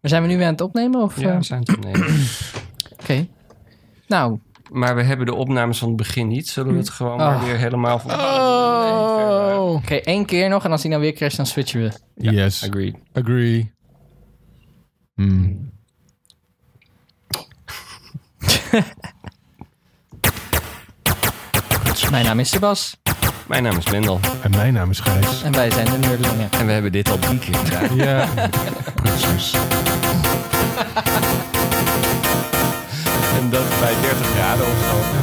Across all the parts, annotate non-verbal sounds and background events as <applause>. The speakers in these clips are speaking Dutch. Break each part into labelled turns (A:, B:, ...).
A: Zijn we nu weer aan het opnemen? Of,
B: Ja,
A: eh,
B: we zijn het opnemen.
A: Oké. Nou.
B: <clears throat> Maar we hebben de opnames van het begin niet. Zullen we het gewoon maar
A: Oh.
B: weer helemaal van...
A: Oké, één keer nog en als die nou weer crasht, dan switchen we.
C: Yes.
B: Agreed.
C: Agree. Hmm.
A: Mijn naam is Sebas
B: Mijn naam is Mendel.
C: En mijn naam is Gijs.
A: en wij zijn de Nerdlingen.
B: En we hebben dit al drie keer gedaan.
C: Ja, <laughs> precies.
B: en dat bij 30 graden of zo.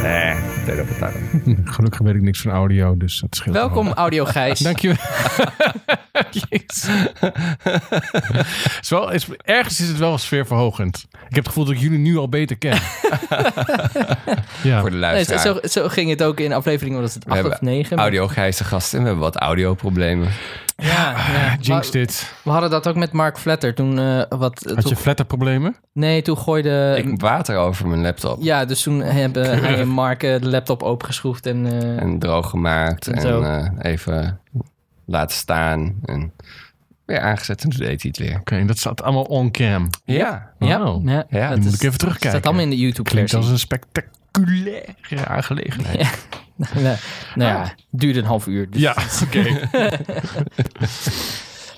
A: 28,5.
B: Nee, dat betaalt.
C: Gelukkig weet ik niks van audio, dus dat scheelt.
A: Welkom, Audio
B: <laughs>
A: Gijs.
C: Dankjewel. Jezus. <laughs> is wel, is, ergens is het wel sfeerverhogend. Ik heb het gevoel dat ik jullie nu al beter ken. <laughs> ja.
A: Nee, zo,
B: Voor de luisteraar.
A: zo- zo ging het ook in aflevering, was het
B: we
A: 8 of
B: hebben
A: 9.
B: audio gijzen gasten en we hebben wat audioproblemen.
A: Ja,
B: Ah,
A: ja.
C: Jinx
A: Maar
C: dit.
A: we hadden dat ook met Mark Vletter toen eh, wat...
C: Had
A: toen-
C: je flatterproblemen?
A: Nee, toen gooide...
B: Ik water over mijn laptop.
A: Eh, Ja, dus toen
B: <laughs>
A: hebben hij en Mark eh, de laptop opengeschroefd en... eh,
B: En droog gemaakt.
A: En
B: En,
A: zo.
B: eh, even laten staan. En weer aangezet en toen deed hij het weer.
C: Oké, en dat zat allemaal on-cam.
B: Ja.
A: ja,
C: Wow.
A: ja,
B: Ja,
A: dat
B: die
C: moet
A: is-
C: ik even terugkijken.
A: staat allemaal in de
C: Klinkt als
A: YouTube-versie.
C: een spectaculaire aangelegenheid.
A: nou <laughs> ja, duurde een half uur. dus-
C: Ja, oké.
A: <laughs>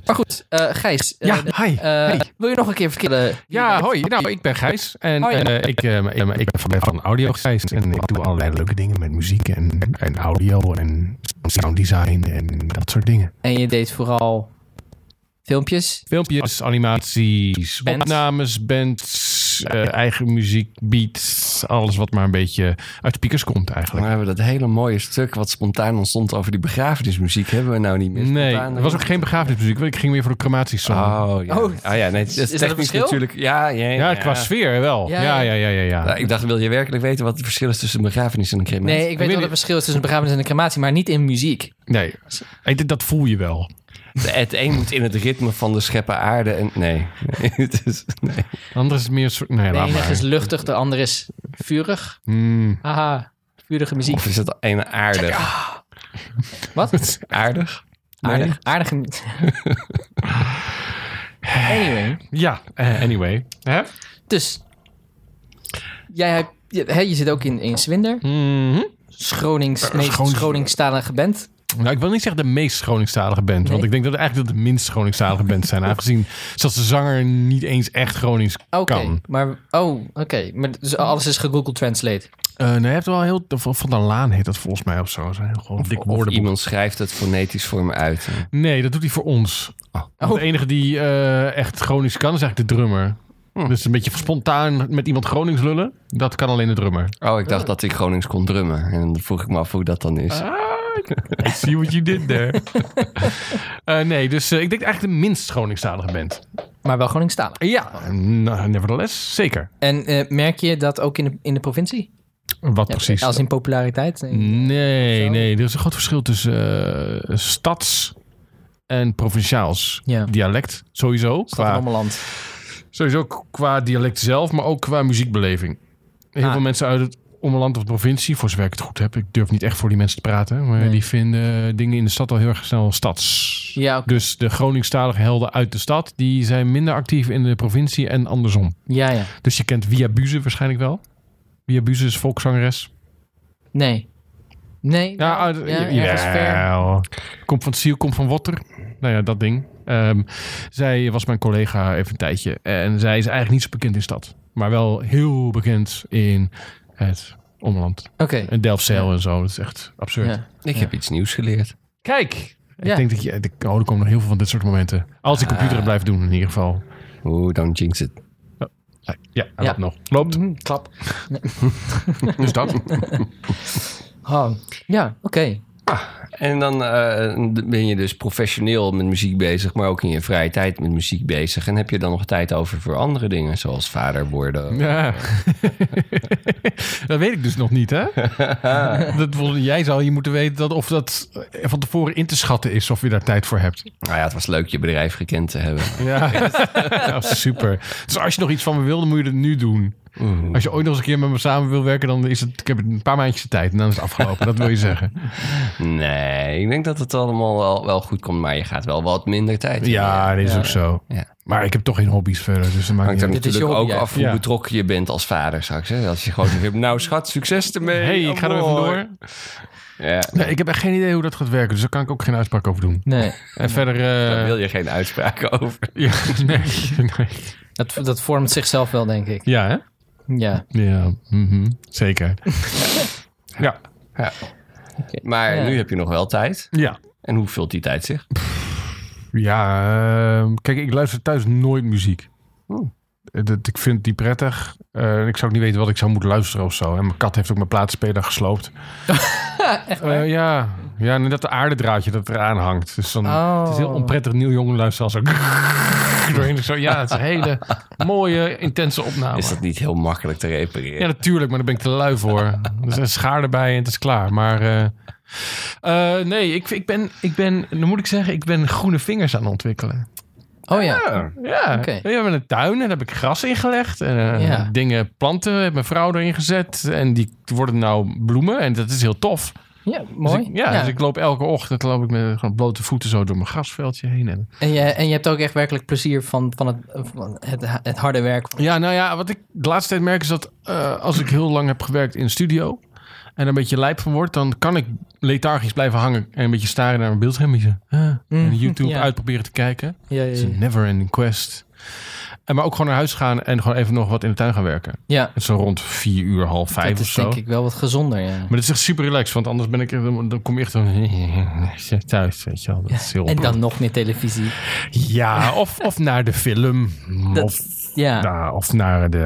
A: Maar goed, eh, Gijs. eh,
C: Ja,
A: eh,
C: hi. Hey.
A: Wil je nog een keer vertellen?
C: Ja, hoi. Nou, ik ben Gijs. En
A: Oh, ja.
C: eh, ik, eh, ik, ik ben van- van Audio Gijs. En ik doe allerlei leuke dingen met muziek en, en audio en sound design en dat soort dingen.
A: En je deed vooral filmpjes.
C: Filmpjes, animaties,
A: Bands.
C: opnames, bands, eh, eigen muziek, beats. Alles wat maar een beetje uit speakers komt
B: Maar
C: eigenlijk.
B: hebben we dat hele mooie stuk wat spontaan ontstond over die begrafenismuziek, hebben we nou niet meer
C: Nee,
B: spontaan?
C: er was ook geen begrafenismuziek. want Ik ging weer voor de crematiesong.
B: Oh ja.
A: Oh.
B: Oh, ja, nee, het
A: Is dat
B: is
A: het
B: technisch
A: verschil?
B: natuurlijk. Ja, ja, ja.
C: Ja, qua sfeer wel.
A: Ja,
C: Ja, ja,
A: ja.
C: ja, ja. ja,
B: Nou, ik dacht, wil je werkelijk weten wat het verschil is tussen een begrafenis en een crematie?
A: Nee, ik weet
C: weet
A: wel het
C: niet.
A: verschil is tussen een begrafenis en een crematie, maar niet in muziek.
C: Nee, Ik denk, dat voel je
B: <laughs>
C: wel.
B: Het een moet in het ritme van de scheppen aarde en... Nee. <laughs> nee, het is- nee.
C: Anders is het meer... een soort- Nee,
A: De
C: laat
A: enige
C: maar.
A: is luchtig, de andere is vurig.
C: Hmm.
A: Haha, vurige muziek.
B: Of is dat een aardig? <laughs>
A: Wat?
B: Aardig?
A: Aardig. Aardige
C: <laughs>
A: muziek. Anyway,
C: Ja, eh, anyway. Hè?
A: dus jij hebt, je, hè, je zit ook in, in Zwinder.
C: Mhm.
A: Schronings,
C: Eh,
A: meest
C: Schroons-
A: Schroningstalige band.
C: Nou, ik wil niet zeggen de meest Groningstalige band.
A: Nee.
C: Want ik denk dat het eigenlijk dat de minst Groningstalige band
B: <laughs>
C: zijn. Aangezien zelfs de zanger niet eens echt Gronings
A: Oké,
C: kan.
A: maar oh, oké, maar dus alles is ge-Google Translate.
C: Eh nee, hij heeft wel heel... Van van der Laan heet dat volgens mij of zo. Dat is een heel groot dik
B: Of
C: woordenboek.
B: iemand schrijft het fonetisch voor me uit.
C: Nee, dat doet hij voor ons.
B: Oh.
C: Want De enige die eh, echt Gronings kan is eigenlijk de drummer.
B: Hm.
C: Dus een beetje spontaan met iemand Gronings lullen. Dat kan alleen de drummer.
B: Oh, ik
A: Eh.
B: dacht dat ik Gronings kon drummen. En dan vroeg ik me af hoe dat dan is.
C: Dus, <laughs> I see what you
B: <laughs>
C: did there. Eh, nee, dus eh, ik denk eigenlijk de minst Groningstalige band.
A: Maar wel Groningstalig.
B: Oh.
C: Ja, nou, nevertheless, zeker.
A: En eh, merk je dat ook in de, in de provincie?
C: Wat
A: Ja,
C: precies? Mm.
A: Als in populariteit? eh,
C: Nee,
A: Zo.
C: nee, er is een groot verschil tussen eh, stads en provinciaals
A: Ja,
C: dialect sowieso.
A: stad en
C: Qua,
A: Ommeland.
C: sowieso k- qua dialect zelf, maar ook qua muziekbeleving. Heel
A: Ah.
C: veel mensen uit het omland of provincie, voor zover ik het goed heb, ik durf niet echt voor die mensen te praten, maar
A: Nee.
C: die vinden dingen in de stad al heel erg snel stads.
A: Ja, oké.
C: Dus de Groningstalige helden uit de stad, die zijn minder actief in de provincie en andersom.
A: ja, ja.
C: Dus je kent Via Buze waarschijnlijk wel. Via Buze is volkszangeres.
A: Nee. Nee.
C: Ja, uit-
A: ergens ver.
C: jawel. Komt van Siel, komt van Watter. Nou ja, dat ding. Ehm, zij was mijn collega even een tijdje. En zij is eigenlijk niet zo bekend in stad. Maar wel heel bekend in het omland.
A: Oké.
C: En Delfzijl en zo. Dat is echt absurd.
A: Ja.
B: Ik heb iets nieuws geleerd.
C: Kijk!
A: Ja. Ah.
C: Ik denk dat je... ik- Oh, er komen nog heel veel van dit soort momenten. Als ik computer het blijf doen in ieder geval. Eh,
B: Oeh, dan jinx het.
C: Ja,
A: Ja.
C: hij loopt nog. Loopt.
A: Mhm, Klap.
C: Dus dat.
A: Oh. Ja, oké.
B: <laughs> En dan eh, ben je dus professioneel met muziek bezig, maar ook in je vrije tijd met muziek bezig. En heb je dan nog tijd over voor andere dingen, zoals vader worden?
C: Ja. <laughs> dat weet ik dus nog niet, hè? dat, wil- jij zou je moeten weten dat, of dat eh, van tevoren in te schatten is of je daar tijd voor hebt.
B: Nou ja, het was leuk je
C: <laughs>
B: bedrijf gekend te hebben.
C: Ja, super. Dus als je nog iets van me wil, dan moet je het nu doen.
B: Mhm.
C: Als je ooit nog eens een keer met me samen wil werken, dan is het. Ik heb een paar maandjes de tijd en dan is het afgelopen. dat wil je zeggen.
B: <laughs> Nee, ik denk dat het allemaal wel, wel goed komt, maar je gaat wel wat minder tijd.
C: Ja, dat is
A: Ja.
C: ook zo.
B: Ja.
C: Maar ik heb toch geen hobby's verder. Dus dat maakt
B: Hangt
C: niet
B: er
C: uit.
A: Dit is
B: natuurlijk
A: je
B: ook
A: hobby,
B: af hoe
C: ja. Ja.
B: betrokken je bent als vader straks. Hè? Als je gewoon zegt, nou schat, succes ermee.
C: hey, ik ga er even
B: Amor.
C: door.
B: Ja,
C: Nee, ik heb echt geen idee hoe dat gaat werken. Dus daar kan ik ook geen uitspraak over doen.
A: Nee,
C: En verder.
B: daar
C: eh,
B: wil je geen uitspraken <laughs> over.
C: ja, nee, <laughs> nee.
A: dat, dat vormt zichzelf wel, denk ik.
C: ja, hè?
A: Ja.
C: Ja, mhm, <laughs> zeker. ja.
B: Maar
A: Ja.
B: nu heb je nog wel tijd.
C: Ja.
B: En hoe vult die tijd zich?
C: Ja, ehm, kijk, ik luister thuis nooit muziek.
B: Oh.
C: Eh, Dat, ik vind die prettig. Eh, ik zou ook niet weten wat ik zou moeten luisteren of zo. En mijn kat heeft ook mijn plaatspeler gesloopt. Eh, ja, ja en dat aardedraadje dat eraan hangt. Dus dan,
A: Oh.
C: Het is heel onprettig nieuw jongen luisteren als zo <laughs> doorheen. Zo, ja, het is een hele mooie, intense opname.
B: Is dat niet heel makkelijk te repareren?
C: Ja, natuurlijk, maar daar ben ik te lui voor. Dus een schaar erbij en het is klaar. Maar eh, eh, nee, ik, ik, ben, ik ben, dan moet ik zeggen, ik ben groene vingers aan het ontwikkelen.
A: Oh ja.
C: Ja,
A: Oké.
C: we hebben een tuin en daar heb ik gras ingelegd. En eh,
A: Ja.
C: dingen, planten, heb mijn vrouw erin gezet. En die worden nou bloemen en dat is heel tof.
A: Ja,
C: Dus
A: mooi.
C: ik- ja, dus ik loop elke ochtend loop ik met gewoon blote voeten zo door mijn grasveldje heen. En
A: en, je, en je hebt ook echt werkelijk plezier van, van, het, van het, het harde werk.
C: Ja, nou ja, wat ik de laatste tijd merk is dat eh, als ik heel lang heb gewerkt in een studio en er een beetje lijp van word, dan kan ik lethargisch blijven hangen en een beetje staren naar mijn beeldschermpje. Eh, en YouTube
A: Mhm. ja. Eh.
C: uitproberen te kijken.
A: Ja,
C: Het is een never ending quest. En maar ook gewoon naar huis gaan en gewoon even nog wat in de tuin gaan werken.
A: ja.
C: Het is zo rond vier uur, half vijf
A: dat
C: of
A: is
C: zo.
A: denk ik wel wat gezonder. Ja.
C: Maar het is echt super relaxed, want anders ben ik, dan dan kom je echt zo <laughs> thuis, weet je wel. Dat is heel
A: En dan nog meer televisie.
C: Ja, of, of naar de film.
A: Dat,
C: of
A: ja,
C: nou, of naar, de,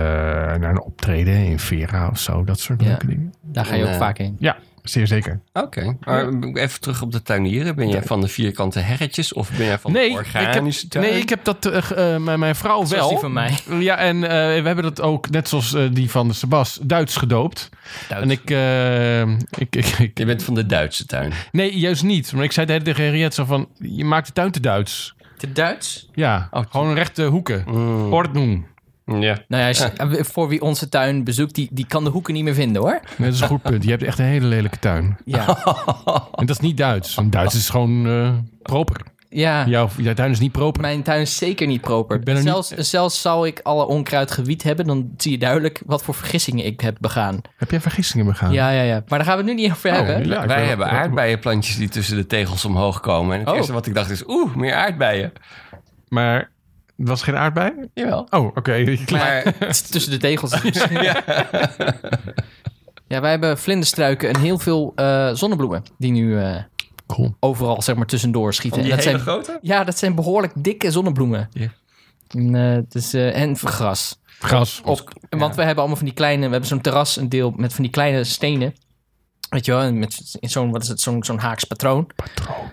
C: naar een optreden in Vera of zo. Dat soort
A: Ja.
C: leuke dingen.
A: daar ga je ook
B: Nee.
A: vaak heen.
C: Ja, zeer zeker.
B: Oké, maar even terug op de tuinieren. Ben jij van de vierkante herretjes of ben jij van de organische
C: ik heb,
B: tuin?
C: nee, ik heb dat... eh, ge- eh, mijn, mijn vrouw
A: Zoals
C: wel.
A: die van mij.
C: Ja, en eh, we hebben dat ook, net zoals eh, die van de Sebas, Duits gedoopt.
B: Duits.
C: En ik, eh, ik, ik, ik-
B: Je bent van de Duitse tuin.
C: Nee, juist niet. Maar ik zei de hele tijd tegen Henriette zo van... Je maakt de tuin te Duits.
A: Te Duits?
C: Ja,
B: Oh,
C: gewoon rechte hoeken.
A: Mm.
C: Ordnung.
B: Ja.
A: Nou ja, als je- eh, voor wie onze tuin bezoekt, die, die kan de hoeken niet meer vinden hoor.
C: Dat is een goed punt. Je hebt echt een hele lelijke tuin.
A: Ja,
C: En dat is niet Duits. Want Duits is gewoon eh, proper.
A: <laughs> ja.
C: Jouw, jouw tuin is niet proper.
A: mijn tuin is zeker niet proper.
C: Ik ben er niet-
A: zelfs, zelfs zal ik alle onkruid gewiet hebben, dan zie je duidelijk wat voor vergissingen ik heb begaan.
C: Heb jij vergissingen begaan?
A: Ja, ja, ja. Maar daar gaan we het nu niet over hebben.
C: Oh, ja, ik
B: Wij
C: wil-
B: hebben aardbeienplantjes die tussen de tegels omhoog komen. En het
A: Oh.
B: eerste wat ik dacht is, oeh, meer aardbeien.
C: Maar er was geen aardbei?
B: Jawel.
C: Oh, oké. <laughs>
B: <laughs> Maar
A: Het is <laughs> Tussen de tegels. ja. ja, wij hebben vlinderstruiken en heel veel eh, zonnebloemen. Die nu eh,
C: Cool.
A: overal zeg maar tussendoor schieten.
B: van die
A: en dat
B: hele
A: zijn,
B: grote?
A: ja, dat zijn behoorlijk dikke zonnebloemen.
B: Ja.
A: En, eh, dus, eh, en gras.
C: Gras.
A: Ook, want we hebben allemaal van die kleine... We hebben zo'n terras, een deel met van die kleine stenen. Weet je wel, en met in zo'n, wat is het, zo'n, zo'n haaks patroon.
C: patroon.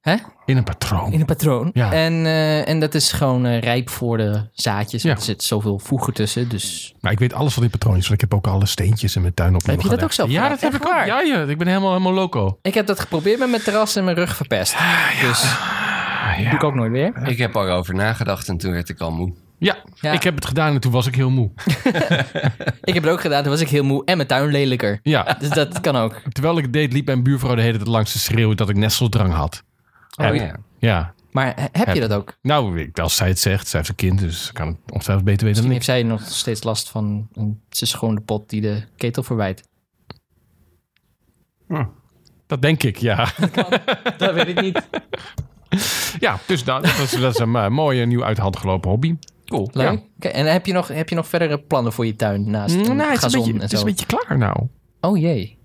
A: Hè?
C: In een patroon.
A: In een patroon.
C: Ja.
A: En, eh, en dat is gewoon eh, rijp voor de zaadjes.
C: Ja.
A: Er zit zoveel voegen tussen, dus...
C: Maar ik weet alles van die patroon is. Want ik heb ook alle steentjes in mijn tuin op.
A: Heb je dat ook zelf
C: Ja,
A: gedaan?
C: dat heb
A: Echt
C: ik ook.
A: waar?
C: Ja, ja, ik ben helemaal, helemaal loco.
A: Ik heb dat geprobeerd met mijn terras en mijn rug verpest.
C: Ah,
A: Dus doe ik ook nooit weer.
B: Ik heb erover nagedacht en toen werd ik al moe.
C: Ja,
A: Ja.
C: ik heb het gedaan en toen was ik heel moe.
A: Ik heb het ook gedaan, toen was ik heel moe en mijn tuin lelijker. <laughs>
C: Ja.
A: Dus
C: <laughs>
A: dat kan ook.
C: Terwijl ik het deed, liep mijn buurvrouw de hele tijd langs te schreeuwen dat ik nesteldrang had.
B: Oh,
C: En-
B: ja.
C: Ja.
A: Maar he- heb je dat ook?
C: Nou, ik- als zij het zegt, zij heeft een kind, dus ze kan het ongetwijfeld beter weten dan
A: Misschien
C: ik.
A: heeft zij nog steeds last van een ze schone pot die de ketel verwijt.
C: Dat denk ik, ja. <laughs>
A: Dat weet ik niet.
C: Ja, dus dat, dat, is, dat is een eh, mooie, nieuw uit de hand gelopen hobby.
B: Cool.
A: Leuk.
C: Ja.
A: Oké, en heb je, nog, heb je nog verdere plannen voor je tuin naast een
C: Nou, het is, een
A: gazon
C: beetje,
A: en
C: het
A: zo?
C: is een beetje klaar nou.
A: Oh jee.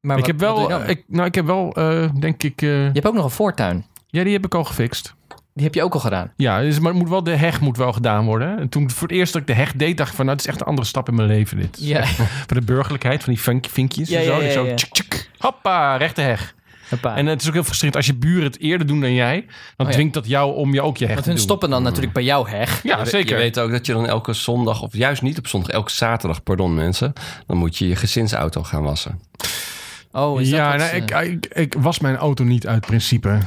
A: Maar
C: ik
A: wat-
C: heb
A: wat
C: wel,
A: doe je, dan?
C: ik, nou, ik heb wel, eh, denk ik, eh,
A: je hebt ook nog een voortuin.
C: ja, die heb ik al gefixt.
A: Die heb je ook al
C: <laughs>
A: gedaan.
C: Ja, dus, maar het moet wel, de heg moet wel gedaan worden. En toen voor het eerst dat ik de heg deed, dacht ik van, nou, het is echt een andere stap in mijn leven dit.
A: Ja. <laughs>
C: Van de burgerlijkheid, van die vink- vinkjes
A: Ja,
C: en zo.
A: ja, ja,
C: Ik zo,
A: ja.
C: tjik, tjik, hoppa, rechte heg.
A: Hoppa.
C: En eh, het is ook heel frustrerend als je buren het eerder doen dan jij, dan
A: Oh, ja.
C: dwingt dat jou om je ook je heg
A: Want
C: te
A: hun
C: doen.
A: stoppen dan natuurlijk bij jouw heg.
C: Ja,
B: Je we-
C: zeker.
B: Je weet ook dat je dan elke zondag, of juist niet op zondag, elke zaterdag, pardon mensen, dan moet je je gezinsauto gaan wassen.
A: Oh, is
C: ja,
A: dat
C: nou,
A: het,
C: ik,
A: eh,
C: ik, ik was mijn auto niet uit principe. <laughs>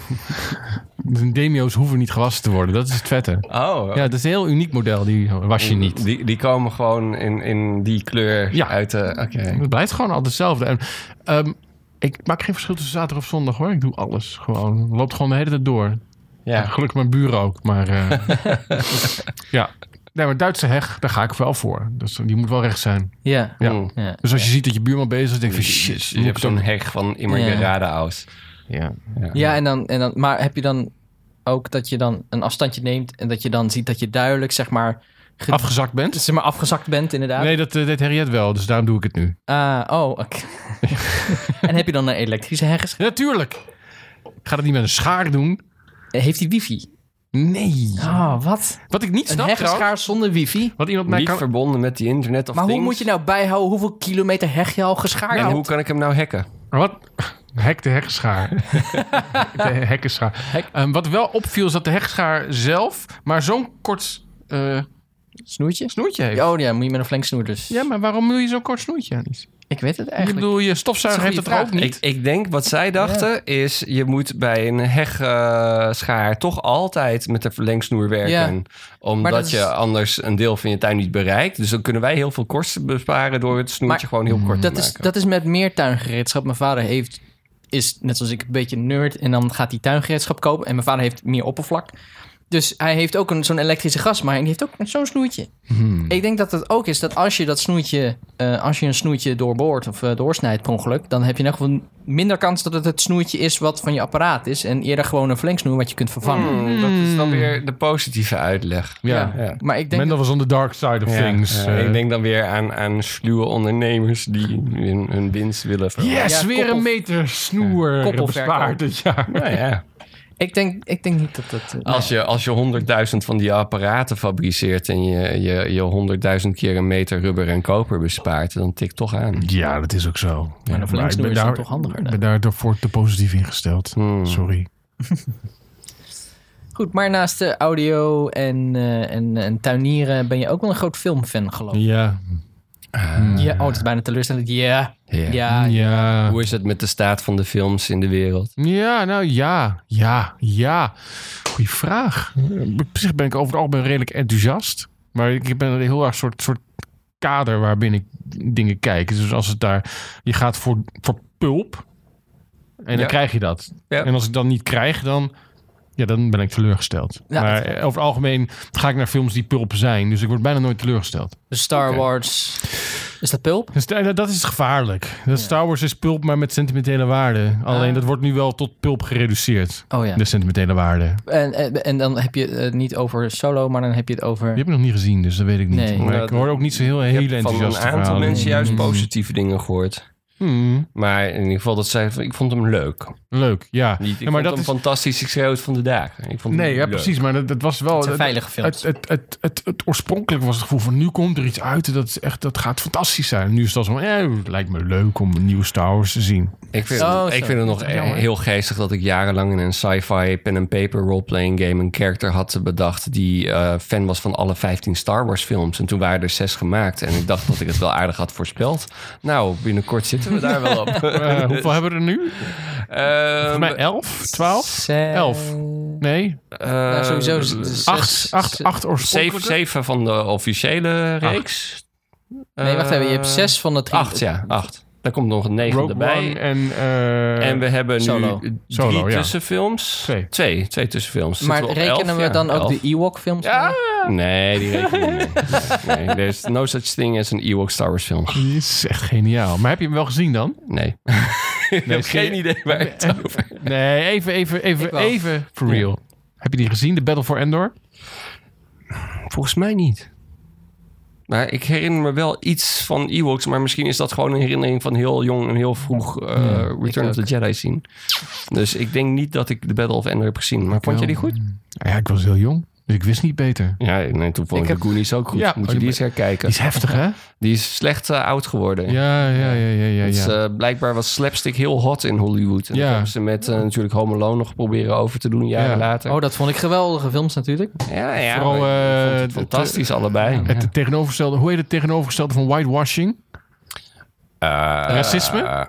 C: De Demio's hoeven niet gewassen te worden. Dat is het vette.
B: Oh,
C: Ja, dat is een heel uniek model. Die was je niet.
B: Die, die komen gewoon in, in die kleur
C: Ja.
B: uit de... Oké.
C: Het blijft gewoon altijd hetzelfde. En, ehm, ik maak geen verschil tussen zaterdag of zondag hoor. Ik doe alles gewoon. Het loopt gewoon de hele tijd door. Ja,
B: Ja.
C: gelukkig mijn buren ook.
B: <laughs>
C: Maar eh, ja. Nee, maar Duitse heg, daar ga ik wel voor. Dus die moet wel recht zijn.
A: ja.
C: Ja.
B: Mm.
A: ja.
C: Dus als je ziet dat je buurman bezig is, denk je van shit.
B: Je
C: moet ik
B: hebt zo'n
C: ook-
B: heg van immer
A: Ja.
B: je radenaus.
C: Ja.
A: Ja, en dan, en dan, maar heb je dan ook dat je dan een afstandje neemt en dat je dan ziet dat je duidelijk, zeg maar, ge-
C: Afgezakt bent?
A: zeg maar afgezakt bent, inderdaad?
C: Nee, dat eh, deed Harriet wel. Dus daarom doe ik het nu.
A: Ah, oh,
C: <laughs>
A: oké. en heb je dan een elektrische heggen?
C: Ja, natuurlijk. Ik ga dat niet met een schaar doen.
A: Heeft die wifi?
C: Nee.
A: Ah, wat?
C: Wat ik niet
A: Een
C: snap trouwens.
A: heggenschaar zonder wifi?
C: Wat iemand mij
B: Niet
C: kan...
B: verbonden met die internet of
A: Maar hoe
B: things.
A: moet je nou bijhouden hoeveel kilometer heg je al geschaard
B: En
A: hebt?
B: hoe kan ik hem nou hacken?
C: Wat? <laughs> Hek de hekschaar. de hekkenschaar. Ehm, wat wel opviel is dat de hekschaar zelf maar zo'n kort eh,
A: Snoertje?
C: snoertje heeft.
A: Oh ja, moet je met een flank snoer dus.
C: Ja, maar waarom doe je zo'n kort snoertje aan iets?
A: Ik weet het
C: Ik
A: eigenlijk.
C: bedoel, je stofzuiger
A: Dat
C: heeft
A: is een
C: het
A: goede
C: ook niet.
B: Ik, ik denk wat zij dachten is: je moet bij een hegschaar toch altijd met de verlengsnoer werken.
A: Ja. Maar dat
B: Omdat
A: is-
B: je anders een deel van je tuin niet bereikt. Dus dan kunnen wij heel veel kosten besparen door het snoertje
A: Maar
B: gewoon heel kort
A: Dat
B: te
A: is,
B: maken.
A: dat is met meer tuingereedschap. Mijn vader heeft, is net zoals ik een beetje een nerd. En dan gaat hij tuingereedschap kopen. En mijn vader heeft meer oppervlak. Dus hij heeft ook een- zo'n elektrische gasmaaier. En die heeft ook een- zo'n snoertje.
B: Hmm.
A: Ik denk dat het ook is dat als je dat snoertje... eh, als je een snoertje doorboort of eh, doorsnijdt per ongeluk... dan heb je in ieder geval minder kans dat het het snoertje is... wat van je apparaat is. En eerder gewoon een flanksnoer wat je kunt vervangen.
B: Hmm, dat is dan weer de positieve uitleg.
C: Ja.
B: Ja.
A: Maar ik denk...
C: Mendel was on the dark side of things.
B: Ja,
C: eh.
B: ik denk dan weer aan, aan sluwe ondernemers die hun, hun winst willen verhogen.
C: Yes,
A: Ja,
C: weer
A: koppel-
C: een meter snoer
A: Koppelverkoop.
C: bespaard dit jaar.
B: Nou ja.
A: Ik denk, ik denk niet dat dat... eh,
B: Als je, als je honderdduizend van die apparaten fabriceert en je je- je honderdduizend keer een meter rubber en koper bespaart, dan tikt toch aan.
C: Ja, dat is ook zo.
A: Maar een
C: ik
A: verlengsnoer
C: ben
A: is dan
C: daar,
A: toch handiger,
C: ik
A: hè?
C: ben daar daarvoor te positief ingesteld.
B: Hmm.
C: Sorry.
A: Goed, maar naast de audio en, eh, en, en tuinieren ben je ook wel een groot filmfan, geloof ik.
C: Ja.
A: Ja. oh, het is bijna teleurstellend. Ja,
B: Ja.
A: ja.
C: ja.
B: Hoe is het met de staat van de films in de wereld?
C: Ja, nou ja, ja, ja. Goeie vraag.
A: Hmm.
C: Op zich ben ik over het algemeen redelijk enthousiast. Maar ik ben een heel erg soort, soort kader waarbinnen ik dingen kijk. Dus als het daar... Je gaat voor, voor pulp en dan
B: Ja.
C: krijg je dat.
B: Ja.
C: En als ik dat niet krijg, dan... Ja, dan ben ik teleurgesteld.
A: Ja,
C: maar
A: dat-
C: eh, over het algemeen ga ik naar films die pulp zijn. Dus ik word bijna nooit teleurgesteld.
A: Dus Star
B: Oké.
A: Wars. Is dat pulp?
C: Dus da- dat is gevaarlijk. Dat Star Wars is pulp, maar met sentimentele waarde. Alleen
A: Ah.
C: dat wordt nu wel tot pulp gereduceerd.
A: Oh ja.
C: De sentimentele waarde.
A: En, en, en dan heb je het niet over solo, maar dan heb je het over...
C: Die heb ik nog niet gezien, dus dat weet ik niet.
A: Nee.
C: Maar ik
B: Nou,
C: hoor ook niet zo heel
B: Ik
C: hele
B: heb van een
C: enthousiaste
B: aantal
C: verhalen.
B: mensen juist
C: Mm.
B: positieve dingen gehoord.
C: Mm.
B: Maar in ieder geval dat zij, van, ik vond hem leuk.
C: Leuk, ja.
B: Niet, ik
C: ja
B: vond
C: maar
B: hem
C: dat is...
B: fantastisch, ik schreeuw het van de dagen. Ik vond hem
C: Nee, ja,
B: leuk.
C: precies. Maar dat, dat was wel...
A: Het zijn
C: dat-
A: veilige films.
C: Oh, Het, het, het, het, het oorspronkelijk was het gevoel van nu komt er iets uit. en Dat, is echt, dat gaat fantastisch zijn. Nu is dat zo van, eh, het lijkt me leuk om nieuwe Star Wars te
B: <laughs>
C: zien.
B: Ik vind,
A: Oh,
B: het, ik
A: zo.
B: vind het nog e-
C: Jammer.
B: heel geestig dat ik jarenlang in een sci-fi pen-and-paper role-playing game... een character had bedacht die eh, fan was van alle 15 Star Wars films. En toen waren er zes gemaakt. En ik dacht dat ik het wel aardig had voorspeld. Nou, binnenkort zitten we
A: <laughs>
B: daar wel op.
C: Eh, hoeveel hebben we er nu?
B: Ehm,
C: Volgens mij elf, twaalf,
A: Se-
C: elf. Nee,
B: eh,
A: Nou, sowieso. z- zes-
C: acht, acht,
A: ze-
C: acht
B: Zeven,
C: oorspronkelijke.
B: zeven van de officiële reeks.
A: Nee, wacht even. Je hebt
B: Eh,
A: zes van de drie.
B: Acht, ja, acht. Daar komt nog een negende
C: Rogue
B: bij.
C: One en... eh,
B: en we hebben
A: Solo.
B: nu drie
C: Solo, ja.
B: tussenfilms.
C: Twee.
B: Twee, twee tussenfilms. Zitten
A: Maar
B: we op
A: rekenen
B: elf?
A: we
B: Ja,
A: dan ook
B: elf.
A: de Ewok-films?
B: Ja.
A: mee?
B: Nee, die rekenen we niet
A: <laughs>
B: mee. Nee, there's no such thing as an Ewok Star Wars film.
C: Die is echt geniaal. Maar heb je hem wel gezien dan?
B: Nee. ik
C: Nee,
B: heb geen
C: serie-
B: idee waar het over
C: Nee, even, even,
A: Ik
C: even,
A: wel.
C: even. For real. Heb je die gezien, de Battle for Endor?
B: Volgens mij niet. Maar ik herinner me wel iets van Ewoks, maar misschien is dat gewoon een herinnering van heel jong en heel vroeg eh, Return
A: ik
B: of the Jedi zien. Dus ik denk niet dat ik de Battle of Endor heb gezien. Maar vond je die goed?
C: Nou Ja, ik was heel jong, dus ik wist niet beter.
B: Ja, nee, toen vond ik,
A: Ik heb-
B: de Goonies ook goed.
C: Ja.
B: Moet je die eens herkijken.
C: Die is heftig, hè?
B: Die is slecht eh, oud geworden.
C: Ja, ja, ja, ja, ja.
B: Dus,
C: ja.
B: eh, blijkbaar was slapstick heel hot in Hollywood. En
C: Ja.
B: dat hebben ze met eh, natuurlijk Home Alone nog proberen over te doen jaren
C: Ja.
B: later.
A: Oh, dat vond ik geweldige films natuurlijk.
B: ja, ja,
C: Vooral,
B: maar ik vond het
C: eh,
B: fantastisch allebei.
C: Het tegenovergestelde, hoe heet het tegenovergestelde van whitewashing?
B: Eh,
C: Racisme?
B: eh,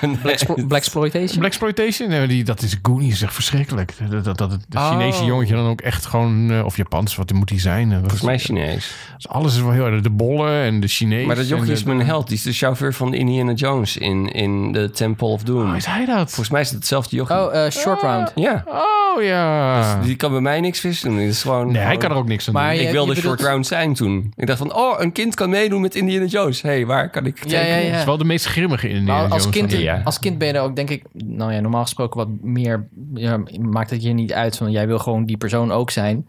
C: Nee.
A: Blacksplo- Blaxploitation?
C: Blaxploitation? Nee, maar die, dat is Goonies, echt verschrikkelijk. Dat, dat, dat het de Chinese
A: Oh.
C: jongetje dan ook echt gewoon... eh, of Japans, wat moet die zijn? Eh, wat is-
B: Volgens mij Chinees.
C: Dus alles is wel heel erg. De bollen en de Chinees.
B: Maar dat jochie
C: en
B: is
C: de-
B: mijn held. Die is de chauffeur van Indiana Jones in, in de Temple of Doom.
C: Oh, is hij dat?
B: Volgens mij is het hetzelfde jochie.
A: Oh, eh, short round.
B: Ja,
C: Oh ja.
B: die kan bij mij niks vissen doen. Het is gewoon,
C: Nee, hij
B: gewoon-
C: kan er ook niks aan
A: Maar
C: doen.
A: je-
B: Ik
A: je
B: wilde
A: bedoelt-
B: short round zijn toen. Ik dacht van, oh, een kind kan meedoen met Indiana Jones. Hé, hey, waar kan ik
A: Ja, ja,
C: Het is
A: ja.
C: wel de meest grimmige in de
A: Maar Nou, als kind,
B: Ja, ja.
A: als kind ben je er ook, denk ik, nou ja, normaal gesproken wat meer. ja, maakt het je niet uit van jij wil gewoon die persoon ook zijn.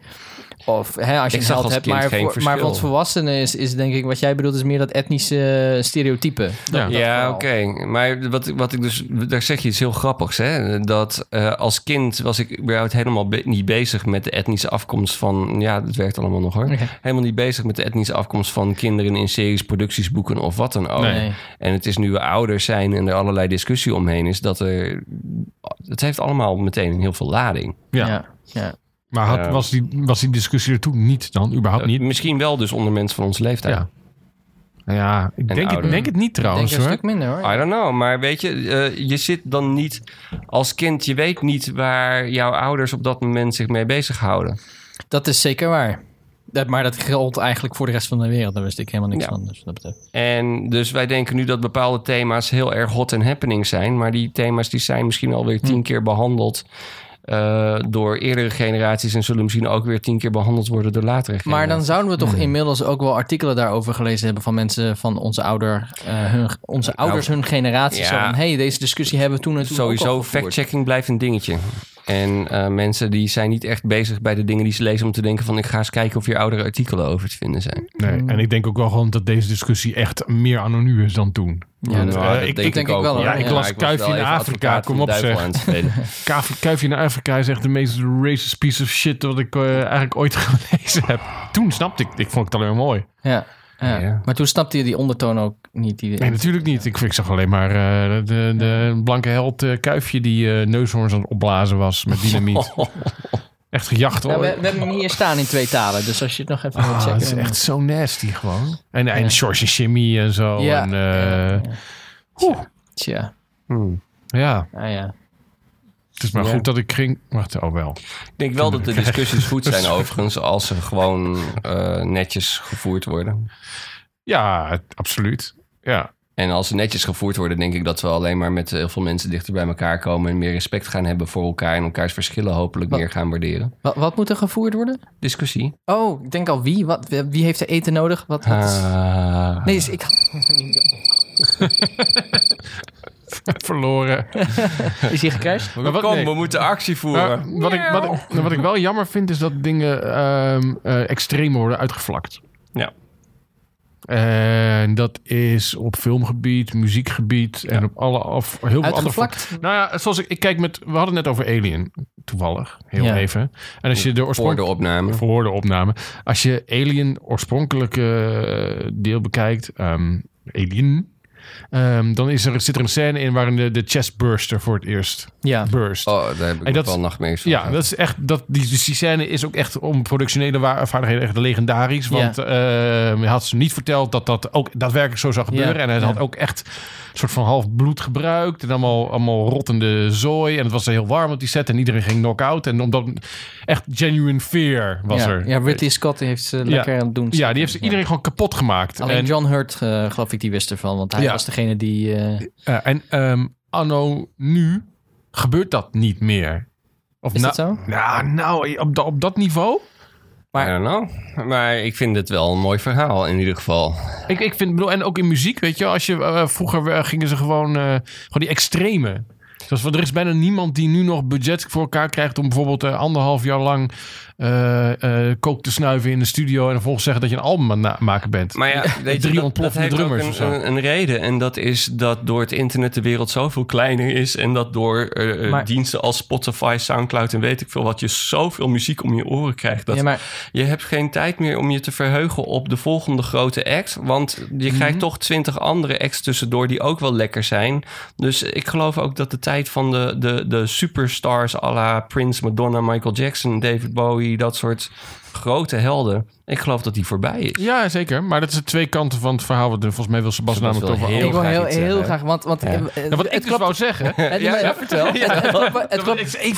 A: Of hè, als je
B: Ik
A: een
B: zag
A: held
B: als
A: hebt,
B: kind
A: maar,
B: geen
A: voor- maar
B: verschil.
A: wat volwassenen is, is denk ik wat jij bedoelt, is meer dat etnische stereotype.
C: Ja.
A: Dat- dat
B: Ja,
A: verhaal.
B: oké. Maar wat, ik- wat ik dus... Daar zeg je iets heel grappigs, hè? Dat eh, als kind was ik überhaupt helemaal be- niet bezig met de etnische afkomst van... Ja, dat werkt allemaal nog, hoor.
A: Oké.
B: Helemaal niet bezig met de etnische afkomst van kinderen in series, producties, boeken of wat dan ook.
A: Nee.
B: En het is nu we ouder zijn en er allerlei discussie omheen is... dat er... Het heeft allemaal meteen heel veel lading.
C: Ja.
A: Ja. Ja.
C: Maar had,
B: Ja.
C: was, die, was die discussie er toen niet dan? Überhaupt niet?
B: Misschien wel dus onder mensen van onze leeftijd.
C: Ja. Nou Ja, ik
B: En
C: denk, het,
B: ouder.
C: denk het niet
A: Ik denk
C: trouwens
A: een
C: hoor.
A: stuk minder hoor.
B: I don't know, maar weet je, eh, je zit dan niet als kind, je weet niet waar jouw ouders op dat moment zich mee bezighouden.
A: Dat is zeker waar. Dat, maar dat geldt eigenlijk voor de rest van de wereld. Daar wist ik helemaal niks
B: Ja.
A: van. Dus wat dat betreft.
B: En dus wij denken nu dat bepaalde thema's heel erg hot en happening zijn, maar die thema's die zijn misschien alweer
A: Hm.
B: tien keer behandeld eh, door eerdere generaties en zullen misschien ook weer tien keer behandeld worden door latere
A: Maar
B: generaties.
A: dan zouden we toch
C: Hmm.
A: inmiddels ook wel artikelen daarover gelezen hebben van mensen van onze, ouder, eh, hun, onze
C: Nou,
A: ouders, hun generatie.
B: ja.
A: Zo van, hey, deze discussie hebben we toen en toen ook al
B: Sowieso,
A: gevoerd.
B: fact-checking blijft een dingetje. En eh, mensen die zijn niet echt bezig bij de dingen die ze lezen om te denken van ik ga eens kijken of hier oudere artikelen over te vinden zijn.
C: Nee. En ik denk ook wel gewoon dat deze discussie echt meer aan de nu is dan toen.
A: Ja, dat-
C: Nou,
B: Ja,
C: eh,
B: dat
C: ik-
A: ik denk ik wel,
B: hoor.
A: hoor. Ja, ik
C: las
B: was
C: Kuifje
B: wel
C: in
B: even
C: Afrika,
B: advocaat van
C: kom op,
B: de duivel
C: zeg.
B: aan het spelen.
C: Kaaf- Kuifje naar Afrika is echt de meest racist piece of shit wat ik eh, eigenlijk ooit <laughs> gelezen heb. Toen snapte ik, ik vond het alleen maar mooi.
A: Ja, ja.
B: Ja.
A: maar toen snapte je die ondertoon ook niet. Die,
C: Nee, natuurlijk niet. Ik, ik zag alleen maar eh, de, de, de blanke held eh, Kuifje die eh, neushoorns aan het opblazen was met
A: <laughs>
C: dynamiet. Echt gejaagd
A: Oh. Ja,
C: hoor.
A: Nou, we, we hebben hem hier staan in twee talen, dus als je het nog even wilt
C: Ah,
A: checken.
C: het is echt zo nasty gewoon. En, en George en Jimmy en zo.
A: Ja.
C: En, eh, oeh,
A: Tja,
B: Hmm.
C: ja,
A: nou ja.
C: het is maar
B: Ja.
C: goed dat ik ging... Wacht, oh wel.
B: <laughs> Ik denk wel dat de discussies goed zijn overigens, als ze gewoon eh, netjes gevoerd worden.
C: Ja, absoluut. Ja, <laughs>
B: En als ze netjes gevoerd worden, denk ik dat we alleen maar met heel veel mensen dichter bij elkaar komen en meer respect gaan hebben voor elkaar en elkaars verschillen hopelijk
A: Wat-
B: meer gaan waarderen.
A: Wat, wat moet er gevoerd worden?
B: Discussie.
A: Oh, ik denk al wie? Wat, wie heeft er eten nodig? Wat, wat is...
B: Ah.
A: Nee, is- ik
C: verloren.
A: <laughs> Is hij gecrashed?
C: Maar wat-
B: Kom,
C: nee.
B: we moeten actie voeren.
C: Maar Nou, wat, ik, wat, ik, wat ik wel jammer vind, is dat dingen ehm eh, extreem worden uitgevlakt.
B: Ja.
C: En dat is op filmgebied, muziekgebied en op alle af, heel veel andere
A: Uitgevlakt?
C: Nou ja, zoals ik, ik kijk met. We hadden het net over Alien. Toevallig. Heel
A: Ja.
C: even. En als je de
B: Voor de
C: oorspronkelijke.
B: opname.
C: Voor de opname. Als je Alien oorspronkelijke eh, deel bekijkt. ehm, Alien. ehm, dan is er, zit er een scène in waarin de, de chestburster voor het eerst
A: Ja.
C: burst.
B: Oh, daar heb ik
C: En
B: ook
C: dat-
B: wel nachtmerries van.
C: Ja, dat is echt. Dat, die, dus die scène is ook echt om productionele wa- vaardigheden echt legendarisch. Want eh hij had ze niet verteld dat dat ook daadwerkelijk zo zou gebeuren.
A: Ja,
C: En hij
A: ja.
C: had ook echt een soort van half bloed gebruikt. En allemaal, allemaal rottende zooi. En het was heel warm op die set. En iedereen ging knock-out. En omdat echt genuine fear was
A: ja.
C: er.
A: Ja, Ridley Scott heeft ze lekker aan het doen.
C: Ja, die heeft iedereen gewoon kapot gemaakt.
A: Alleen
C: en
A: John Hurt, eh, geloof ik, die wist ervan. Want hij
C: Ja.
A: was degene die... eh,
C: eh, en ehm, anno nu gebeurt dat niet meer. Of
A: Is
C: nou-
A: dat zo?
C: Nou, nou op, da- op dat niveau.
B: Maar, I don't know. Maar ik vind het wel een mooi verhaal in ieder geval.
C: Ik, ik vind, bedoel, en ook in muziek, weet je, wel, als je eh, vroeger eh, gingen ze gewoon, eh, gewoon die extreme. Zoals, van, er is bijna niemand die nu nog budget voor elkaar krijgt om bijvoorbeeld eh, anderhalf jaar lang eh eh, kook te snuiven in de studio en vervolgens zeggen dat je een album aan het maken bent.
B: Maar ja, weet je,
C: drie
B: dat- dat,
C: ontploffende
B: heeft
C: drummers
B: ook
C: of
B: een,
C: zo.
B: een, een reden. En dat is dat door het internet de wereld zoveel kleiner is. En dat door eh, eh,
A: Maar-
B: diensten als Spotify, Soundcloud en weet ik veel wat... je zoveel muziek om je oren krijgt. Dat
A: ja, maar
B: Je hebt geen tijd meer om je te verheugen op de volgende grote act. Want
C: Mhm.
B: je krijgt toch twintig andere acts tussendoor die ook wel lekker zijn. Dus ik geloof ook dat de tijd tijd van de, de, de superstars à la Prince, Madonna, Michael Jackson, David Bowie, dat soort grote helden. Ik geloof dat die voorbij is.
C: Ja, zeker. Maar dat is de twee kanten van het verhaal. Wat er volgens mij wil Sebas
B: Sebas
C: namelijk
B: wil
C: over.
B: heel
A: ik wil
B: graag
A: heel,
B: iets
A: heel
B: zeggen.
A: graag, want, want eh, eh,
C: Ja, wat
A: het
C: ik dus
A: klopt.
C: wou
A: <laughs>
C: zeggen.
A: Het,
B: Ja,
A: maar-
B: ja,
A: vertel. Het, het klopt, het, klopt,
B: Even,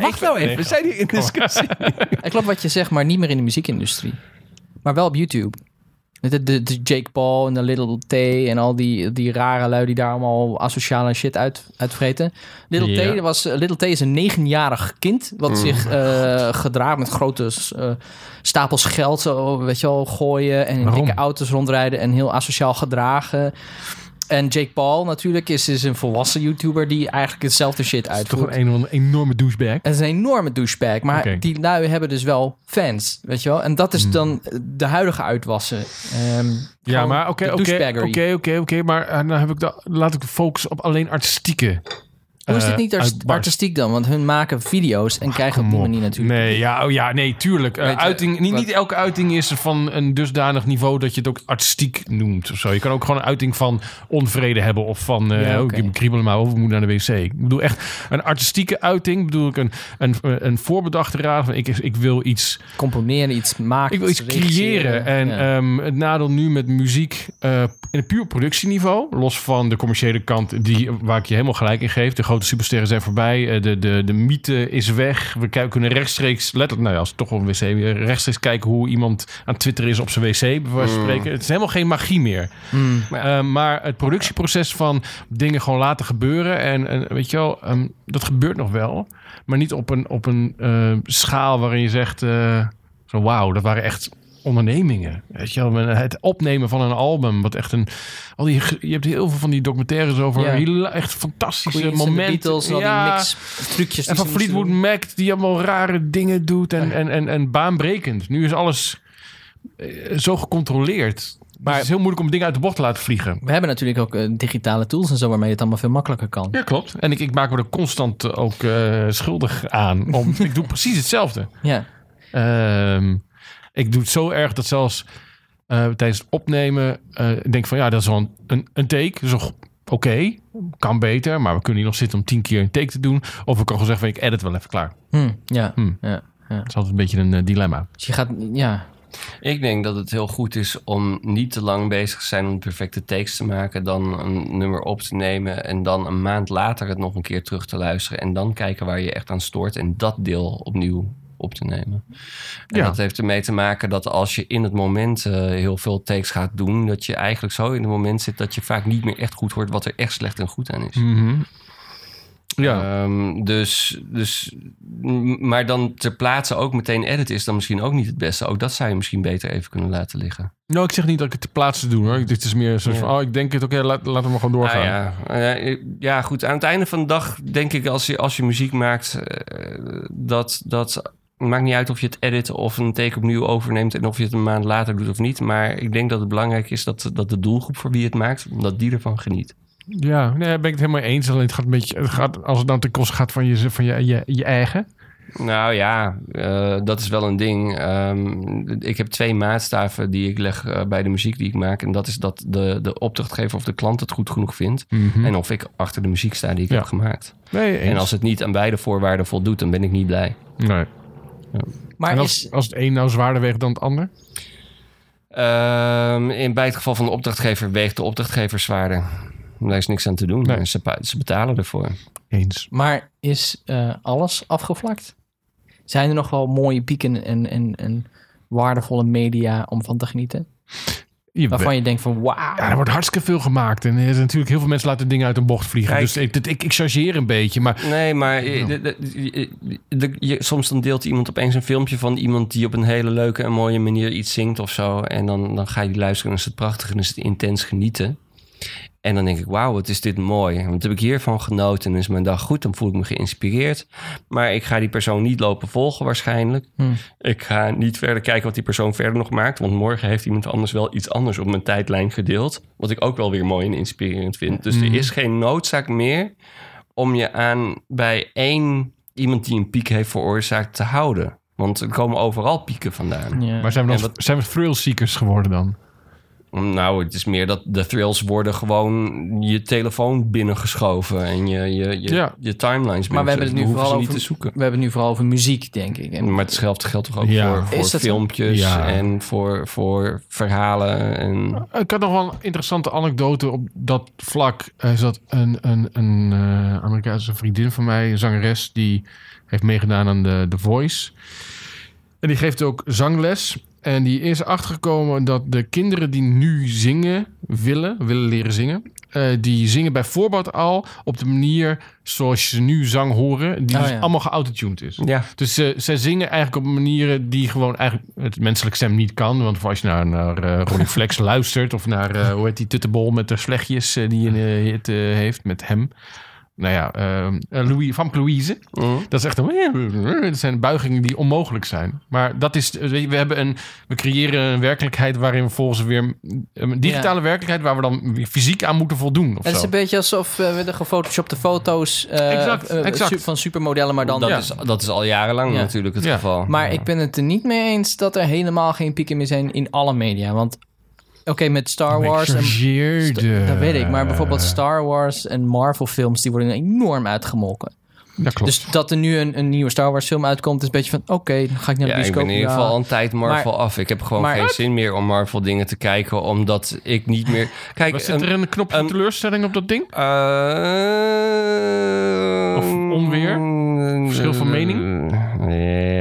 B: wacht nou even. We zijn hier in discussie.
A: <laughs> het klopt wat je zegt, maar niet meer in de muziekindustrie. Maar wel op YouTube. De, de, de Jake Paul en de Little T en al die, die rare lui die daar allemaal asociale shit uit, uitvreten. Little,
C: Ja. Mm.
A: T was, eh, Little T is een negenjarig kind wat zich eh, gedraagt met grote eh, stapels geld zo, weet je wel, gooien en in
C: Waarom?
A: dikke auto's rondrijden en heel asociaal gedragen. En Jake Paul natuurlijk is, is een volwassen YouTuber die eigenlijk hetzelfde shit
C: Het is toch
A: uitvoert.
C: een, een enorme douchebag.
A: Het is een enorme douchebag. Maar
C: Oké. Hmm.
A: die lui hebben dus wel fans, weet je wel? En dat is dan de huidige uitwassen. Ehm,
C: Ja,
A: gewoon
C: maar oké,
A: de
C: oké,
A: douchebaggery.
C: oké, oké, oké. Maar eh, nou heb ik da- laat ik de focus op alleen artistieke.
A: Hoe is
C: eh,
A: dit niet artis-
C: uitbarst.
A: artistiek dan? Want hun maken video's en krijgen op
C: Kom
A: die
C: op.
A: manier natuurlijk...
C: Nee, ja, oh ja, nee, tuurlijk. Eh,
A: Weet je,
C: uiting, niet,
A: wat-
C: niet elke uiting is van een dusdanig niveau dat je het ook artistiek noemt of zo. Je kan ook gewoon een uiting van onvrede hebben of van eh
A: Ja,
C: oh,
A: oké.
C: ik kriebel maar over, ik moet naar de wc. Ik bedoel echt een artistieke uiting. Bedoel ik een, een, een voorbedachte raad van ik, ik wil iets
A: Componeren, iets maken,
C: ik wil iets creëren.
A: regisseren.
C: En
A: Ja.
C: ehm, het nadeel nu met muziek eh, in het puur productieniveau, los van de commerciële kant, die, waar ik je helemaal gelijk in geef. De grote supersterren zijn voorbij. eh, de, de, de mythe is weg. We kijken, kunnen rechtstreeks, letterlijk, nou ja, als het toch wel een wc weer, rechtstreeks kijken hoe iemand aan Twitter is op zijn wc, bij wijze van spreken. Het is helemaal geen magie meer.
A: Mm.
C: Eh, maar het productieproces van dingen gewoon laten gebeuren. En, en weet je wel, ehm, dat gebeurt nog wel. Maar niet op een, op een eh, schaal waarin je zegt... eh, zo, wauw, dat waren echt ondernemingen. Weet je wel, met het opnemen van een album. Wat echt een... Al die, ge- je hebt heel veel van die documentaires over...
A: Ja.
C: hila- echt fantastische
A: Queens en de
C: momenten.
A: Beatles en al die
C: Ja.
A: mix trucjes.
C: En van Fleetwood Mac, die allemaal rare dingen doet en, en, en, en baanbrekend. Nu is alles eh, zo gecontroleerd. Maar
A: Maar-
C: het is heel moeilijk om dingen uit de bocht te laten vliegen.
A: We hebben natuurlijk ook eh, digitale tools en zo waarmee het allemaal veel makkelijker kan.
C: Ja, klopt. En ik, ik maak me er constant eh, ook eh, schuldig aan. Om, <laughs> ik doe precies hetzelfde.
A: Ja.
C: Ehm, ik doe het zo erg dat zelfs eh, tijdens het opnemen... eh, ik denk van ja, dat is wel een, een, een take. Zo oké, kan beter. Maar we kunnen hier nog zitten om tien keer een take te doen. Of ik kan gewoon zeggen van ik edit wel even klaar.
A: Hm, ja.
C: Hm.
A: ja.
C: Dat is altijd een beetje een eh, dilemma.
A: Dus je gaat... Ja.
B: Ik denk dat het heel goed is om niet te lang bezig te zijn om perfecte takes te maken, dan een nummer op te nemen en dan een maand later het nog een keer terug te luisteren en dan kijken waar je echt aan stoort en dat deel opnieuw op te nemen. En
C: Ja.
B: dat heeft ermee te maken dat als je in het moment eh, heel veel takes gaat doen, dat je eigenlijk zo in het moment zit dat je vaak niet meer echt goed hoort wat er echt slecht en goed aan is.
C: Mhm. Ja.
B: Ehm, dus, dus, m- maar dan ter plaatse ook meteen edit is dan misschien ook niet het beste. Ook dat zou je misschien beter even kunnen laten liggen.
C: nou, ik zeg niet dat ik het te plaatsen doe. Hoor. Dit is meer een soort van, oh, ik denk het, oké, laat, laten we maar gewoon doorgaan.
B: Nou ja, eh, ja, goed. Aan het einde van de dag denk ik, als je, als je muziek maakt, eh, dat, dat maakt niet uit of je het edit of een take opnieuw overneemt en of je het een maand later doet of niet. Maar ik denk dat het belangrijk is dat, dat de doelgroep voor wie het maakt, dat die ervan geniet.
C: Ja, nee, daar ben ik het helemaal eens. Alleen het gaat een beetje, het gaat, als het dan ten koste gaat van je, van je, je, je eigen.
B: Nou ja, eh, dat is wel een ding. Ehm, ik heb twee maatstaven die ik leg eh, bij de muziek die ik maak. En dat is dat de, de opdrachtgever of de klant het goed genoeg vindt. En of ik achter de muziek sta die ik
C: Ja.
B: heb gemaakt.
C: Nee, eens.
B: Mhm. En als het niet aan beide voorwaarden voldoet, dan ben ik niet blij.
C: nee.
A: Maar
C: En
A: is...
C: als, als het een nou zwaarder weegt dan het ander?
B: Ehm, in, bij het geval van de opdrachtgever weegt de opdrachtgever zwaarder. Daar is niks aan te doen.
C: Nee.
B: En Ze, pa- ze betalen ervoor.
C: Eens.
A: Maar is eh, alles afgevlakt? Zijn er nog wel mooie pieken en, en, en waardevolle media om van te genieten?
C: Je bent-
A: Waarvan je denkt van wauw.
C: ja, er wordt hartstikke veel gemaakt. En er is natuurlijk heel veel mensen laten dingen uit hun bocht vliegen.
B: Kijk.
C: Dus ik, dit- ik, ik chargeer een beetje. Maar
B: Nee, maar eh, de- de- de- de- je- soms dan deelt iemand opeens een filmpje van iemand die op een hele leuke en mooie manier iets zingt of zo. En dan, dan ga je die luisteren en is het prachtig en is het intens genieten. En dan denk ik, wauw, wat is dit mooi. Wat heb ik hiervan genoten? En is mijn dag goed, dan voel ik me geïnspireerd. Maar ik ga die persoon niet lopen volgen waarschijnlijk.
A: Hmm.
B: Ik ga niet verder kijken wat die persoon verder nog maakt. Want morgen heeft iemand anders wel iets anders op mijn tijdlijn gedeeld. Wat ik ook wel weer mooi en inspirerend vind. Dus er is geen noodzaak meer om je aan bij één iemand die een piek heeft veroorzaakt te houden. Want er komen overal pieken vandaan.
A: Ja.
C: Maar zijn we, dan,
B: En
C: zijn we thrill seekers geworden dan?
B: Nou, het is meer dat de thrills worden gewoon je telefoon binnengeschoven en je, je, je,
C: Ja.
B: je timelines
A: Maar we hebben het nu
B: binnengeschoven.
A: vooral
B: hoeven ze
A: over,
B: niet te zoeken.
A: We hebben het nu vooral over muziek, denk ik. En,
B: Maar hetzelfde geldt toch ook
C: Ja.
B: voor,
A: Is
B: voor
A: dat zo?
B: filmpjes
C: Ja.
B: en voor, voor verhalen. En...
C: Eh, Ik had nog wel een interessante anekdote op dat vlak. Er zat een, een, een eh, Amerikaanse vriendin van mij, een zangeres, die heeft meegedaan aan de, The Voice. En die geeft ook zangles. En die is achtergekomen dat de kinderen die nu zingen willen, willen leren zingen, eh, die zingen bij voorbaat al op de manier zoals je nu zang horen, die
A: Oh,
C: dus
A: ja.
C: allemaal geautotuned is.
B: Ja,
C: Dus ze, ze zingen eigenlijk op manieren die gewoon eigenlijk het menselijk stem niet kan. Want als je naar, naar eh,
A: <laughs>
C: Ronnie Flex luistert of naar, eh, hoe heet die tuttebol met de slechtjes eh, die een eh, hit eh, heeft met hem. Nou ja, ehm, eh, Louis, van Louise.
B: Mm.
C: Dat is echt een... <laughs> Dat zijn buigingen die onmogelijk zijn. Maar dat is... eh, weet je, We, hebben een, we creëren een werkelijkheid waarin we volgens weer... Een digitale werkelijkheid waar we dan fysiek aan moeten voldoen. Of
A: het is
C: zo.
A: een beetje alsof eh, we de gefotoshopte foto's eh,
C: Exact,
A: eh,
C: exact.
A: su- van supermodellen, maar dan...
B: dat,
C: Ja.
B: is, dat is al jarenlang
A: Ja.
B: natuurlijk het
C: Ja.
B: geval.
A: Maar ik ben het er niet mee eens dat er helemaal geen pieken meer zijn in alle media. Want oké, met Star Wars... en-
C: Gechargeerde.
A: dat weet ik, maar bijvoorbeeld Star Wars en Marvel films... die worden enorm uitgemolken.
C: Dat klopt.
A: Dus dat er nu een, een nieuwe Star Wars film uitkomt... is een beetje van, oké, dan ga ik naar de
B: Ja, ik
A: bioscoop.
B: ben in ieder
A: Ja.
B: geval al een tijd Marvel af. Ik heb gewoon
A: maar-
B: geen zin meer om Marvel dingen te kijken, omdat ik niet
C: <laughs>
B: meer... Kijk,
C: Wat zit er een knopje
B: een-
C: teleurstelling op dat ding?
B: Eh,
C: Of onweer? Verschil van mening?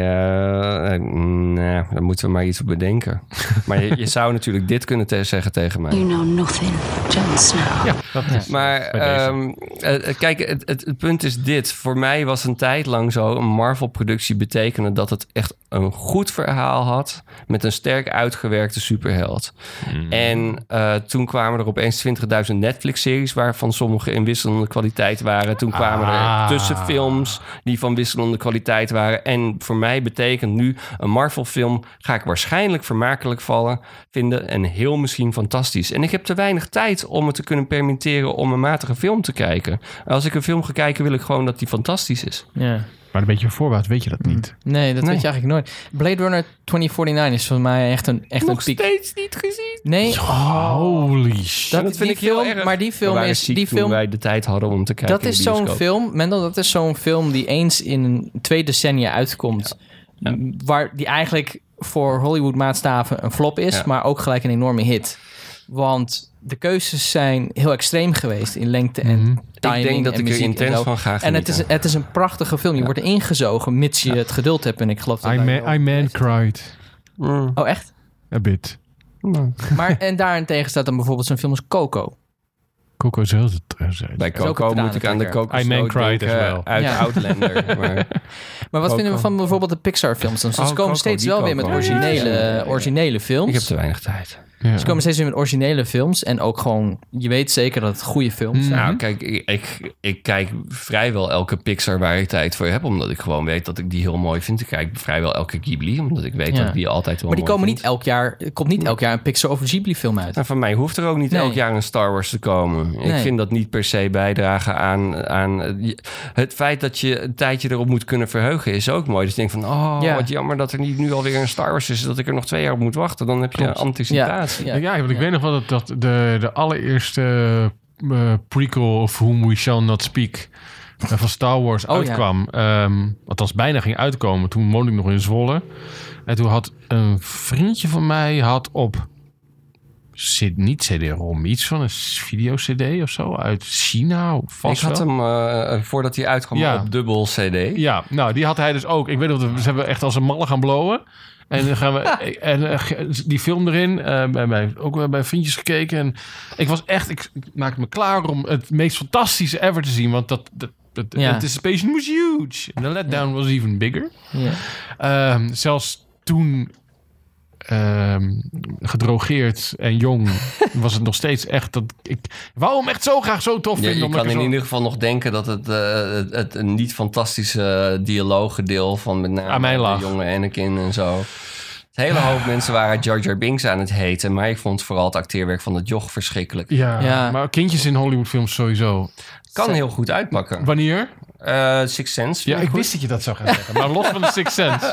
B: Ja, eh, nou, daar moeten we maar iets op bedenken.
C: <laughs>
B: Maar je, je zou natuurlijk dit kunnen te- zeggen tegen
D: <laughs> You
B: mij.
D: know nothing, Jon Snow.
C: Ja, dat is. eh,
B: Maar
C: Bij deze.
B: ehm, eh, eh, kijk, het, het, het punt is dit. Voor mij was een tijd lang zo een Marvel-productie betekende dat het echt een goed verhaal had met een sterk uitgewerkte superheld. En eh, toen kwamen er opeens 20.000 Netflix-series... waarvan sommige in wisselende kwaliteit waren. Toen kwamen
C: Ah.
B: er tussenfilms die van wisselende kwaliteit waren. En voor mij betekent nu een Marvel-film... ga ik waarschijnlijk vermakelijk vallen, vinden... en heel misschien fantastisch. En ik heb te weinig tijd om me te kunnen permitteren... om een matige film te kijken. Als ik een film ga kijken, wil ik gewoon dat die fantastisch is.
A: Ja.
C: Maar een beetje voorbaat weet je dat niet.
A: Nee, dat
B: Nee.
A: weet je eigenlijk nooit. Blade Runner 2049 is voor mij echt een, echt een piek.
B: steeds niet gezien.
A: Nee,
C: Holy shit.
A: Dat, vind ik heel erg. Maar die film is. Die
B: toen
A: film,
B: wij de tijd hadden om te kijken
A: dat is zo'n film. Mendel, dat is zo'n film die eens in een twee decennia uitkomt. M, Waar die eigenlijk voor Hollywood maatstaven een flop is,
B: Ja.
A: maar ook gelijk een enorme hit. Want de keuzes zijn heel extreem geweest in lengte en timing
B: Mhm. Ik denk dat
A: en
B: ik er
A: muziek en
B: intens
A: zo.
B: van ga
A: En het is,
B: genieten.
A: het is een prachtige film. Je wordt ingezogen, mits je het geduld hebt. En ik geloof dat...
C: I,
A: wij
C: man,
A: wel-
C: I man cried.
A: Oh, echt?
B: <laughs>
C: A bit.
A: Maar en daarentegen staat dan bijvoorbeeld zo'n film als Coco.
C: Coco zelfs het eh, zei.
B: Bij
A: ook een
B: Coco moet ik aan de
A: tranentrekker.
B: Coco
C: I Man Cried
B: denken
C: as well.
B: uit
A: Ja. <laughs>
B: Outlander. Maar
A: Maar wat
B: Coco.
A: vinden we van bijvoorbeeld de Pixar-films? dan? Ze
B: Oh,
A: komen
B: Coco,
A: steeds
B: die
A: wel
B: Coco.
A: weer met
B: Ja, ja, ja.
A: originele,
B: Ja, ja, ja.
A: originele films.
B: ik heb te weinig tijd.
C: Ja.
A: Ze komen steeds weer met originele films. En ook gewoon, je weet zeker dat het goede films zijn.
B: Nou, kijk, ik, ik, ik kijk vrijwel elke Pixar waar ik tijd voor heb. Omdat ik gewoon weet dat ik die heel mooi vind. Ik kijk vrijwel elke Ghibli. Omdat ik weet
A: Ja.
B: dat ik die altijd wel
A: Maar die
B: mooi
A: komen
B: vind.
A: niet elk jaar, er komt
B: Hmm.
A: niet elk jaar een Pixar of een Ghibli-film uit.
B: Nou, van mij hoeft er ook niet
A: Nee.
B: elk jaar een Star Wars te komen. Ik
A: Nee.
B: vind dat niet per se bijdragen aan, aan eh, je- het feit dat je een tijdje erop moet kunnen verheugen. Is ook mooi. Dus je denkt van, oh,
A: Ja.
B: wat jammer dat er niet nu alweer een Star Wars is. Dat ik er nog twee jaar op moet wachten. Dan heb je
C: Klopt.
B: anticipatie.
A: Ja.
C: Ja, want ik weet nog wel dat, dat de, de allereerste eh, prequel of Whom We Shall Not Speak eh, van Star Wars
A: Oh, ja.
C: uitkwam. Ehm, althans, bijna ging uitkomen. Toen woonde ik nog in Zwolle. En toen had een vriendje van mij had op... Zit niet CD-ROM, iets van een video-CD of zo uit China.
B: Ik
C: Vast
B: had
C: wel.
B: hem, eh, voordat hij uitkwam,
C: Ja.
B: op dubbel CD.
C: Ja, nou, die had hij dus ook. Ik weet dat we, ze hebben echt als een malle gaan blowen. En
B: <laughs>
C: dan gaan we en, eh, ge- die film erin. eh, bij mijn, ook wel bij vriendjes gekeken. En ik was echt, ik, ik maakte me klaar om het meest fantastische ever te zien. Want dat, dat, dat
A: Ja.
C: anticipation was huge. En de letdown was even bigger.
A: Ja.
C: Ehm, zelfs toen ehm, gedrogeerd en
B: <laughs>
C: jong was het nog steeds echt dat ik wou hem echt zo graag zo tof
B: Ja,
C: vinden.
B: je
C: omdat
B: kan
C: ik er
B: in
C: zo-
B: ieder geval nog denken dat het, eh, het, het een niet fantastische dialooggedeil van met name
C: Aan mij lag.
B: de jonge Anakin en zo. Het hele
C: <sighs>
B: hoop mensen waren Jar Jar Binks aan het heten. Maar ik vond vooral het acteerwerk van dat joch verschrikkelijk.
C: Ja,
A: Ja.
C: maar kindjes in Hollywoodfilms sowieso.
B: Kan heel goed uitpakken.
C: Wanneer?
B: Eh Six Sense.
C: eh, Ja,
B: vond
C: ik
B: goed.
C: wist dat je dat zou gaan zeggen. Maar los van de Sixth Sense.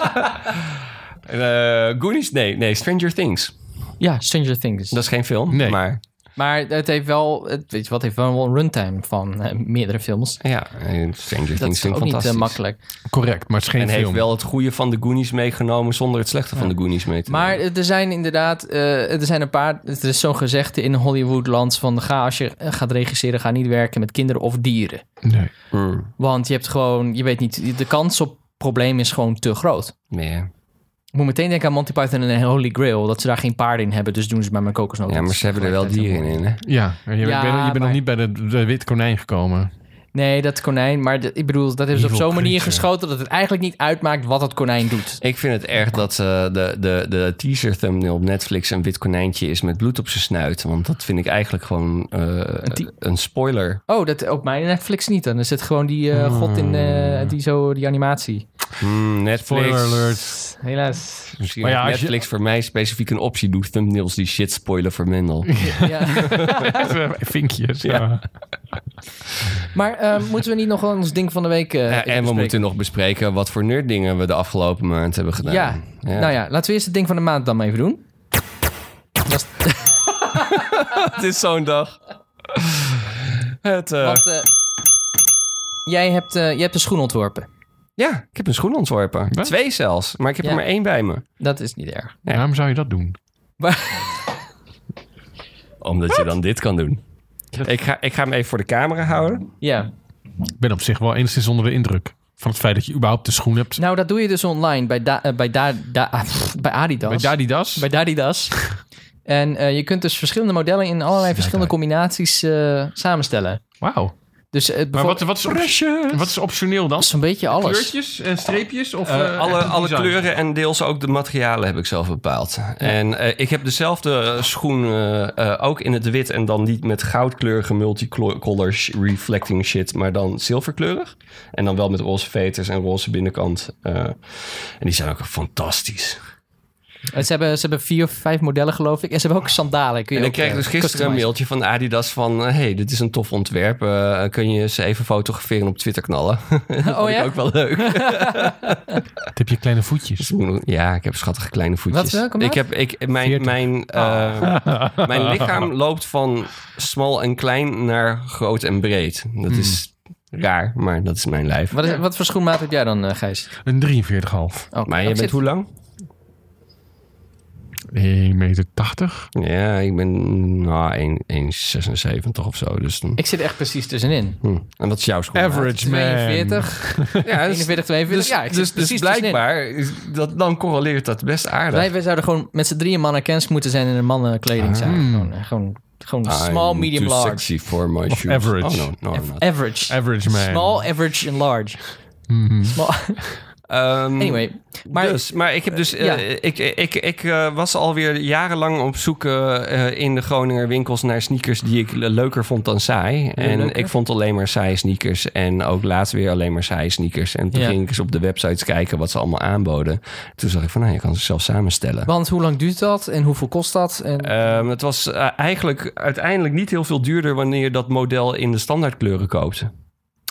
B: Eh, Goonies? Nee, nee, Stranger Things.
A: Ja, Stranger Things.
B: Dat is geen film,
C: Nee.
B: maar
A: Maar het heeft wel, het, weet je wat, heeft wel een runtime van eh, meerdere films.
B: ja, eh, Stranger
A: Dat
B: Things
A: is
B: vind ik
A: ook niet
B: fantastisch.
A: eh, makkelijk.
C: <laughs> Correct, maar het is geen
B: en
C: film.
B: heeft wel het goede van de Goonies meegenomen zonder het slechte van de Goonies mee te
A: Maar
B: nemen.
A: eh, er zijn inderdaad, eh, er zijn een paar, het is zo'n gezegde in Hollywoodland van ga als je eh, gaat regisseren, ga niet werken met kinderen of dieren.
C: Nee.
B: Hmm,
A: Want je hebt gewoon, je weet niet, de kans op probleem is gewoon te groot.
B: nee.
A: Ik moet meteen denken aan Monty Python en de Holy Grail, dat ze daar geen paarden in hebben, dus doen ze maar met kokosnoten.
B: Ja, maar ze hebben er wel dieren in, hè?
C: Ja, je, je
A: Ja,
C: bent, je bent
A: maar-
C: nog niet bij de, de wit konijn gekomen.
A: Nee, dat konijn, maar de- ik bedoel, dat hebben ze op
C: Evil
A: zo'n manier
C: creature.
A: geschoten dat het eigenlijk niet uitmaakt wat het konijn doet.
B: Ik vind het erg dat eh, de, de, de teaser thumbnail op Netflix een wit konijntje is met bloed op zijn snuit. Want dat vind ik eigenlijk gewoon eh,
A: ti-
B: een, spoiler.
A: Oh, dat op mijn Netflix niet dan. Er zit gewoon die eh, god in eh, die, zo, die animatie.
B: Hmm, Netflix.
C: Spoiler alert.
A: Helaas.
B: Misschien
C: Maar ja,
B: heeft
C: als je-
B: Netflix voor mij specifiek een optie doet. Thumbnails die shit spoilen voor Mendel.
A: Ja.
C: <laughs> Vinkjes, ja.
A: Maar
B: <laughs>
A: eh, moeten we niet nog wel ons ding van de week eh,
B: Ja,
A: even
B: en we
A: bespreken?
B: moeten nog bespreken wat voor nerddingen we de afgelopen maand hebben gedaan.
A: Ja. nou ja, laten we eerst het ding van de maand dan maar even doen. Dat is-
B: Eh. Het is zo'n dag. Het, eh,
A: <laughs> want, eh, jij hebt, eh je hebt een schoen ontworpen.
B: Ja, ik heb een schoen ontworpen.
C: Wat?
B: Twee zelfs, maar ik heb
A: Ja.
B: er maar één bij me.
A: Dat is niet erg.
B: Ja.
C: Waarom zou je dat doen?
B: Omdat je dan dit kan doen. Ik ga, ik ga hem even voor de camera houden.
A: Ja.
C: Ik ben op zich wel enigszins onder de indruk van het feit dat je überhaupt de schoen hebt.
A: Nou, dat doe je dus online bij, da, eh, bij, da, da- ah, pff, bij Adidas.
C: Bij Adidas.
A: Bij Dadidas. en eh, je kunt dus verschillende modellen in allerlei verschillende combinaties eh, samenstellen.
C: Wauw.
A: Dus het
C: Maar wat, wat, is op- wat is optioneel dan?
A: Zo'n beetje alles.
C: Kleurtjes en streepjes? Of,
B: Eh,
C: eh,
B: alle
C: echt
B: alle
C: design?
B: kleuren en deels ook de materialen heb ik zelf bepaald. En eh, ik heb dezelfde eh, schoen eh, eh, ook in het wit en dan niet met goudkleurige multicolor sh- reflecting shit, maar dan zilverkleurig. En dan wel met roze veters en roze binnenkant. eh. en die zijn ook fantastisch.
A: Eh, Ze hebben, ze hebben vier of vijf modellen, geloof ik. En ze hebben ook sandalen. Kun je
B: En ik
A: ook,
B: kreeg
A: eh,
B: dus gisteren een
A: customizen.
B: mailtje van Adidas van... eh, hey, dit is een tof ontwerp. eh, kun je ze even fotograferen en op Twitter knallen? dat
A: Oh,
B: vond
A: ja?
B: ik <laughs> ook wel leuk.
C: Dan heb je kleine voetjes.
B: Dus ik moet- ja, ik heb schattige kleine voetjes.
A: Wat, welke maat?
B: ik heb, ik, mijn,
C: Veertig. Oh.
B: mijn, eh,
C: <laughs>
B: mijn lichaam loopt van smal en klein naar groot en breed. Dat
C: Hmm.
B: is raar, maar dat is mijn lijf.
A: Wat, is- wat voor schoenmaat heb jij dan, eh, Gijs?
C: Een 43,5.
A: Oh,
B: Maar je
A: ik
B: bent
A: zit-
B: hoe lang?
C: 1,80 meter. 80.
B: Ja, ik ben nou, 1 1,76 of zo. Dus dan,
A: Ik zit echt precies tussenin.
B: hm. En wat is jouw schoen?
C: Average man.
A: 42,
B: Ja, dus-
A: 41, 42.
B: Dus,
A: ja, ik zit
B: dus, dus
A: precies tussenin.
B: blijkbaar, is dat, dan correleert dat best aardig.
A: Wij, wij zouden gewoon met z'n drieën mannequins moeten zijn in een mannenkleding zijn.
C: Ah.
A: Gewoon, eh, gewoon, gewoon small,
B: I'm
A: medium,
B: Ah, too
A: large.
B: sexy for my
C: Of
B: shoes.
C: average.
B: Oh, no, no, I'm not.
A: Average.
C: Average man.
A: Small, average en large.
C: Mhm.
A: Small-
B: <laughs> Mm. Ehm,
A: Anyway. Maar
B: dus, maar ik heb dus, eh,
A: ja.
B: ik, ik, ik eh, was alweer jarenlang op zoek eh, eh, in de Groninger winkels naar sneakers die ik le- leuker vond dan saai. en
A: leuker?
B: ik vond alleen maar saaie sneakers en ook laatst weer alleen maar saaie sneakers. En toen
A: Ja.
B: ging ik eens op de websites kijken wat ze allemaal aanboden. Toen zag ik van, nou, je kan ze zelf samenstellen.
A: Want hoe lang duurt dat en hoeveel kost dat? En,
B: Ehm, het was eh, eigenlijk uiteindelijk niet heel veel duurder wanneer je dat model in de standaardkleuren koopt.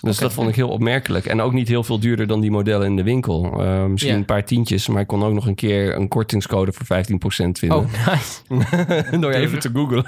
B: Dus dat vond ik heel opmerkelijk. En ook niet heel veel duurder dan die modellen in de winkel. Eh, misschien
A: Ja.
B: een paar tientjes, maar ik kon ook nog een keer een kortingscode voor 15% vinden. <laughs>
A: oh, nice. Oh.
B: Door even te googlen.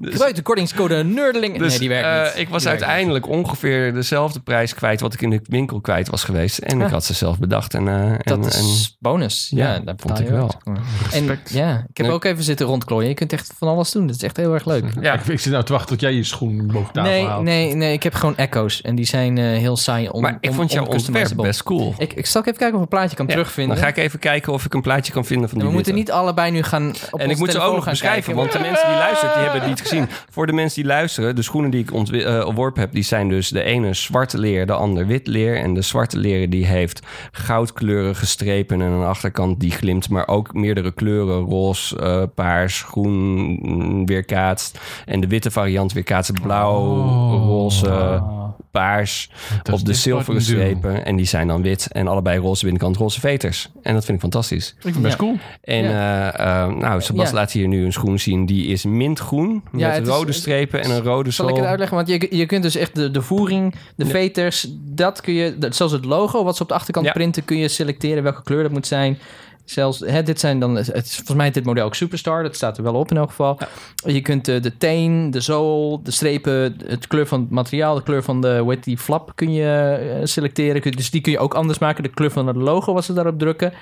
A: Gebruik de kortingscode Nerdeling.
B: Dus
A: nee, die werkt
B: eh,
A: niet.
B: ik was
A: Die werkt niet.
B: uiteindelijk ongeveer dezelfde prijs kwijt wat ik in de winkel kwijt was geweest. En ik
A: Ah.
B: had ze zelf bedacht. En, eh, en-
A: Dat is bonus. Ja,
B: Ja,
A: dat
B: vond ik wel.
C: <laughs>
A: En, ja, ik heb
B: Nee.
A: ook even zitten rondklooien. Je kunt echt van alles doen. Dat is echt heel erg leuk.
B: ja.
C: Ik, ik zit nou te wachten tot jij je schoen boven tafel
A: Nee,
C: haalt.
A: nee, nee. Ik heb gewoon echo's. En die zijn eh, heel saai. On,
B: maar ik
A: on-
B: vond jouw ontwerp
A: oncustomizable.
B: best cool.
A: Ik, ik zal ook even kijken of ik een plaatje kan
B: Ja,
A: terugvinden.
B: Dan ga ik even kijken of ik een plaatje kan vinden van
A: En
B: die
A: we moeten
B: witte.
A: niet allebei nu gaan op
B: En
A: onze
B: ik moet ze ook
A: telefoon
B: nog
A: gaan
B: beschrijven,
A: kijken.
B: want de mensen die luisteren, die hebben het niet gezien. Voor de mensen die luisteren, de schoenen die ik ontwi- eh, ontworpen heb, die zijn dus de ene zwarte leer, de ander wit leer. En de zwarte leer die heeft goudkleurige strepen en een achterkant die glimt, maar ook meerdere kleuren, roze, eh, paars, groen mm, weerkaatst. En de witte variant weerkaatst blauw,
A: Oh.
B: roze, paars
C: Dat
B: op de
C: is
B: zilveren
C: wat ik doe.
B: strepen. En die zijn dan wit en allebei roze binnenkant, roze veters. En dat vind ik fantastisch.
C: Ik vind best cool.
B: En eh, eh, nou, Sebas
A: Ja.
B: laat hier nu een schoen zien. Die is mintgroen
A: Ja, het
B: met
A: is-
B: rode strepen en een rode
A: Dus Zal ik het
B: zool.
A: uitleggen? Want je, je kunt dus echt de, de voering, de veters, dat kun je, dat, zelfs het logo wat ze op de achterkant
B: Ja.
A: printen, kun je selecteren welke kleur dat moet zijn. Zelfs, hè, dit zijn dan, het is, volgens mij is dit model ook Superstar, dat staat er wel op in elk geval. Je kunt eh, de teen, de zool, de strepen, het kleur van het materiaal, de kleur van de, hoe heet die, flap kun je eh, selecteren. Kun- Dus die kun je ook anders maken. De kleur van het logo wat ze daarop drukken.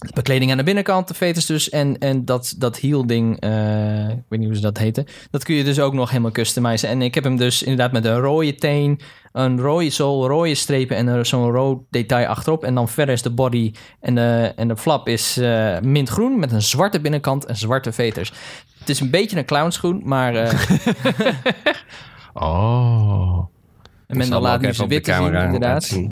A: De bekleding aan de binnenkant, de veters dus. En, en dat, dat heel ding, eh, ik weet niet hoe ze dat heten. Dat kun je dus ook nog helemaal customizen. En ik heb hem dus inderdaad met een rode teen, een rode zool, rode strepen en er zo'n rood detail achterop. En dan verder is de body en de, en de flap is eh, mintgroen met een zwarte binnenkant en zwarte veters. Het is een beetje een clownschoen, maar
B: <laughs>
A: eh
C: Oh.
A: en men
B: zal
A: laat
B: hem ook
A: nu
B: even
A: zijn
B: op de
A: witte zien,
B: camera
A: inderdaad.
B: laten zien.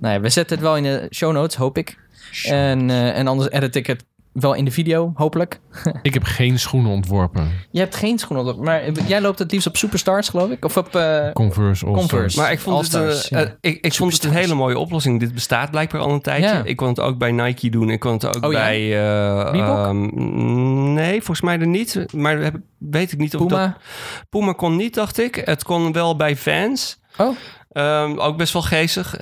A: Nou ja, we zetten het wel in de show notes, hoop ik. En, eh, en anders edit ik het wel in de video, hopelijk.
C: Ik heb geen schoenen ontworpen.
A: Je hebt geen schoenen op, maar jij loopt het liefst op Superstars, geloof ik? Of op... eh,
C: Converse of
A: Converse.
B: Maar ik vond, het,
A: All-stars,
B: eh,
A: ja.
B: eh, ik, ik vond het een hele mooie oplossing. Dit bestaat blijkbaar al een tijdje.
A: Ja.
B: Ik kon het ook bij Nike doen. Ik kon het ook
A: Oh ja?
B: bij... eh,
A: Reebok?
B: ehm, nee, volgens mij er niet. Maar heb, weet ik niet of dat...
A: Puma.
B: Puma kon niet, dacht ik. Het kon wel bij Vans.
A: Oh,
B: Ehm, ook best wel geestig.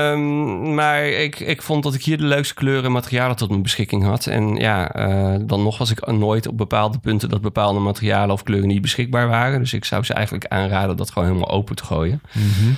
B: Ehm, maar ik, ik vond dat ik hier de leukste kleuren en materialen tot mijn beschikking had. En ja, eh, dan nog was ik nooit op bepaalde punten dat bepaalde materialen of kleuren niet beschikbaar waren. Dus ik zou ze eigenlijk aanraden dat gewoon helemaal open te gooien.
C: Mhm.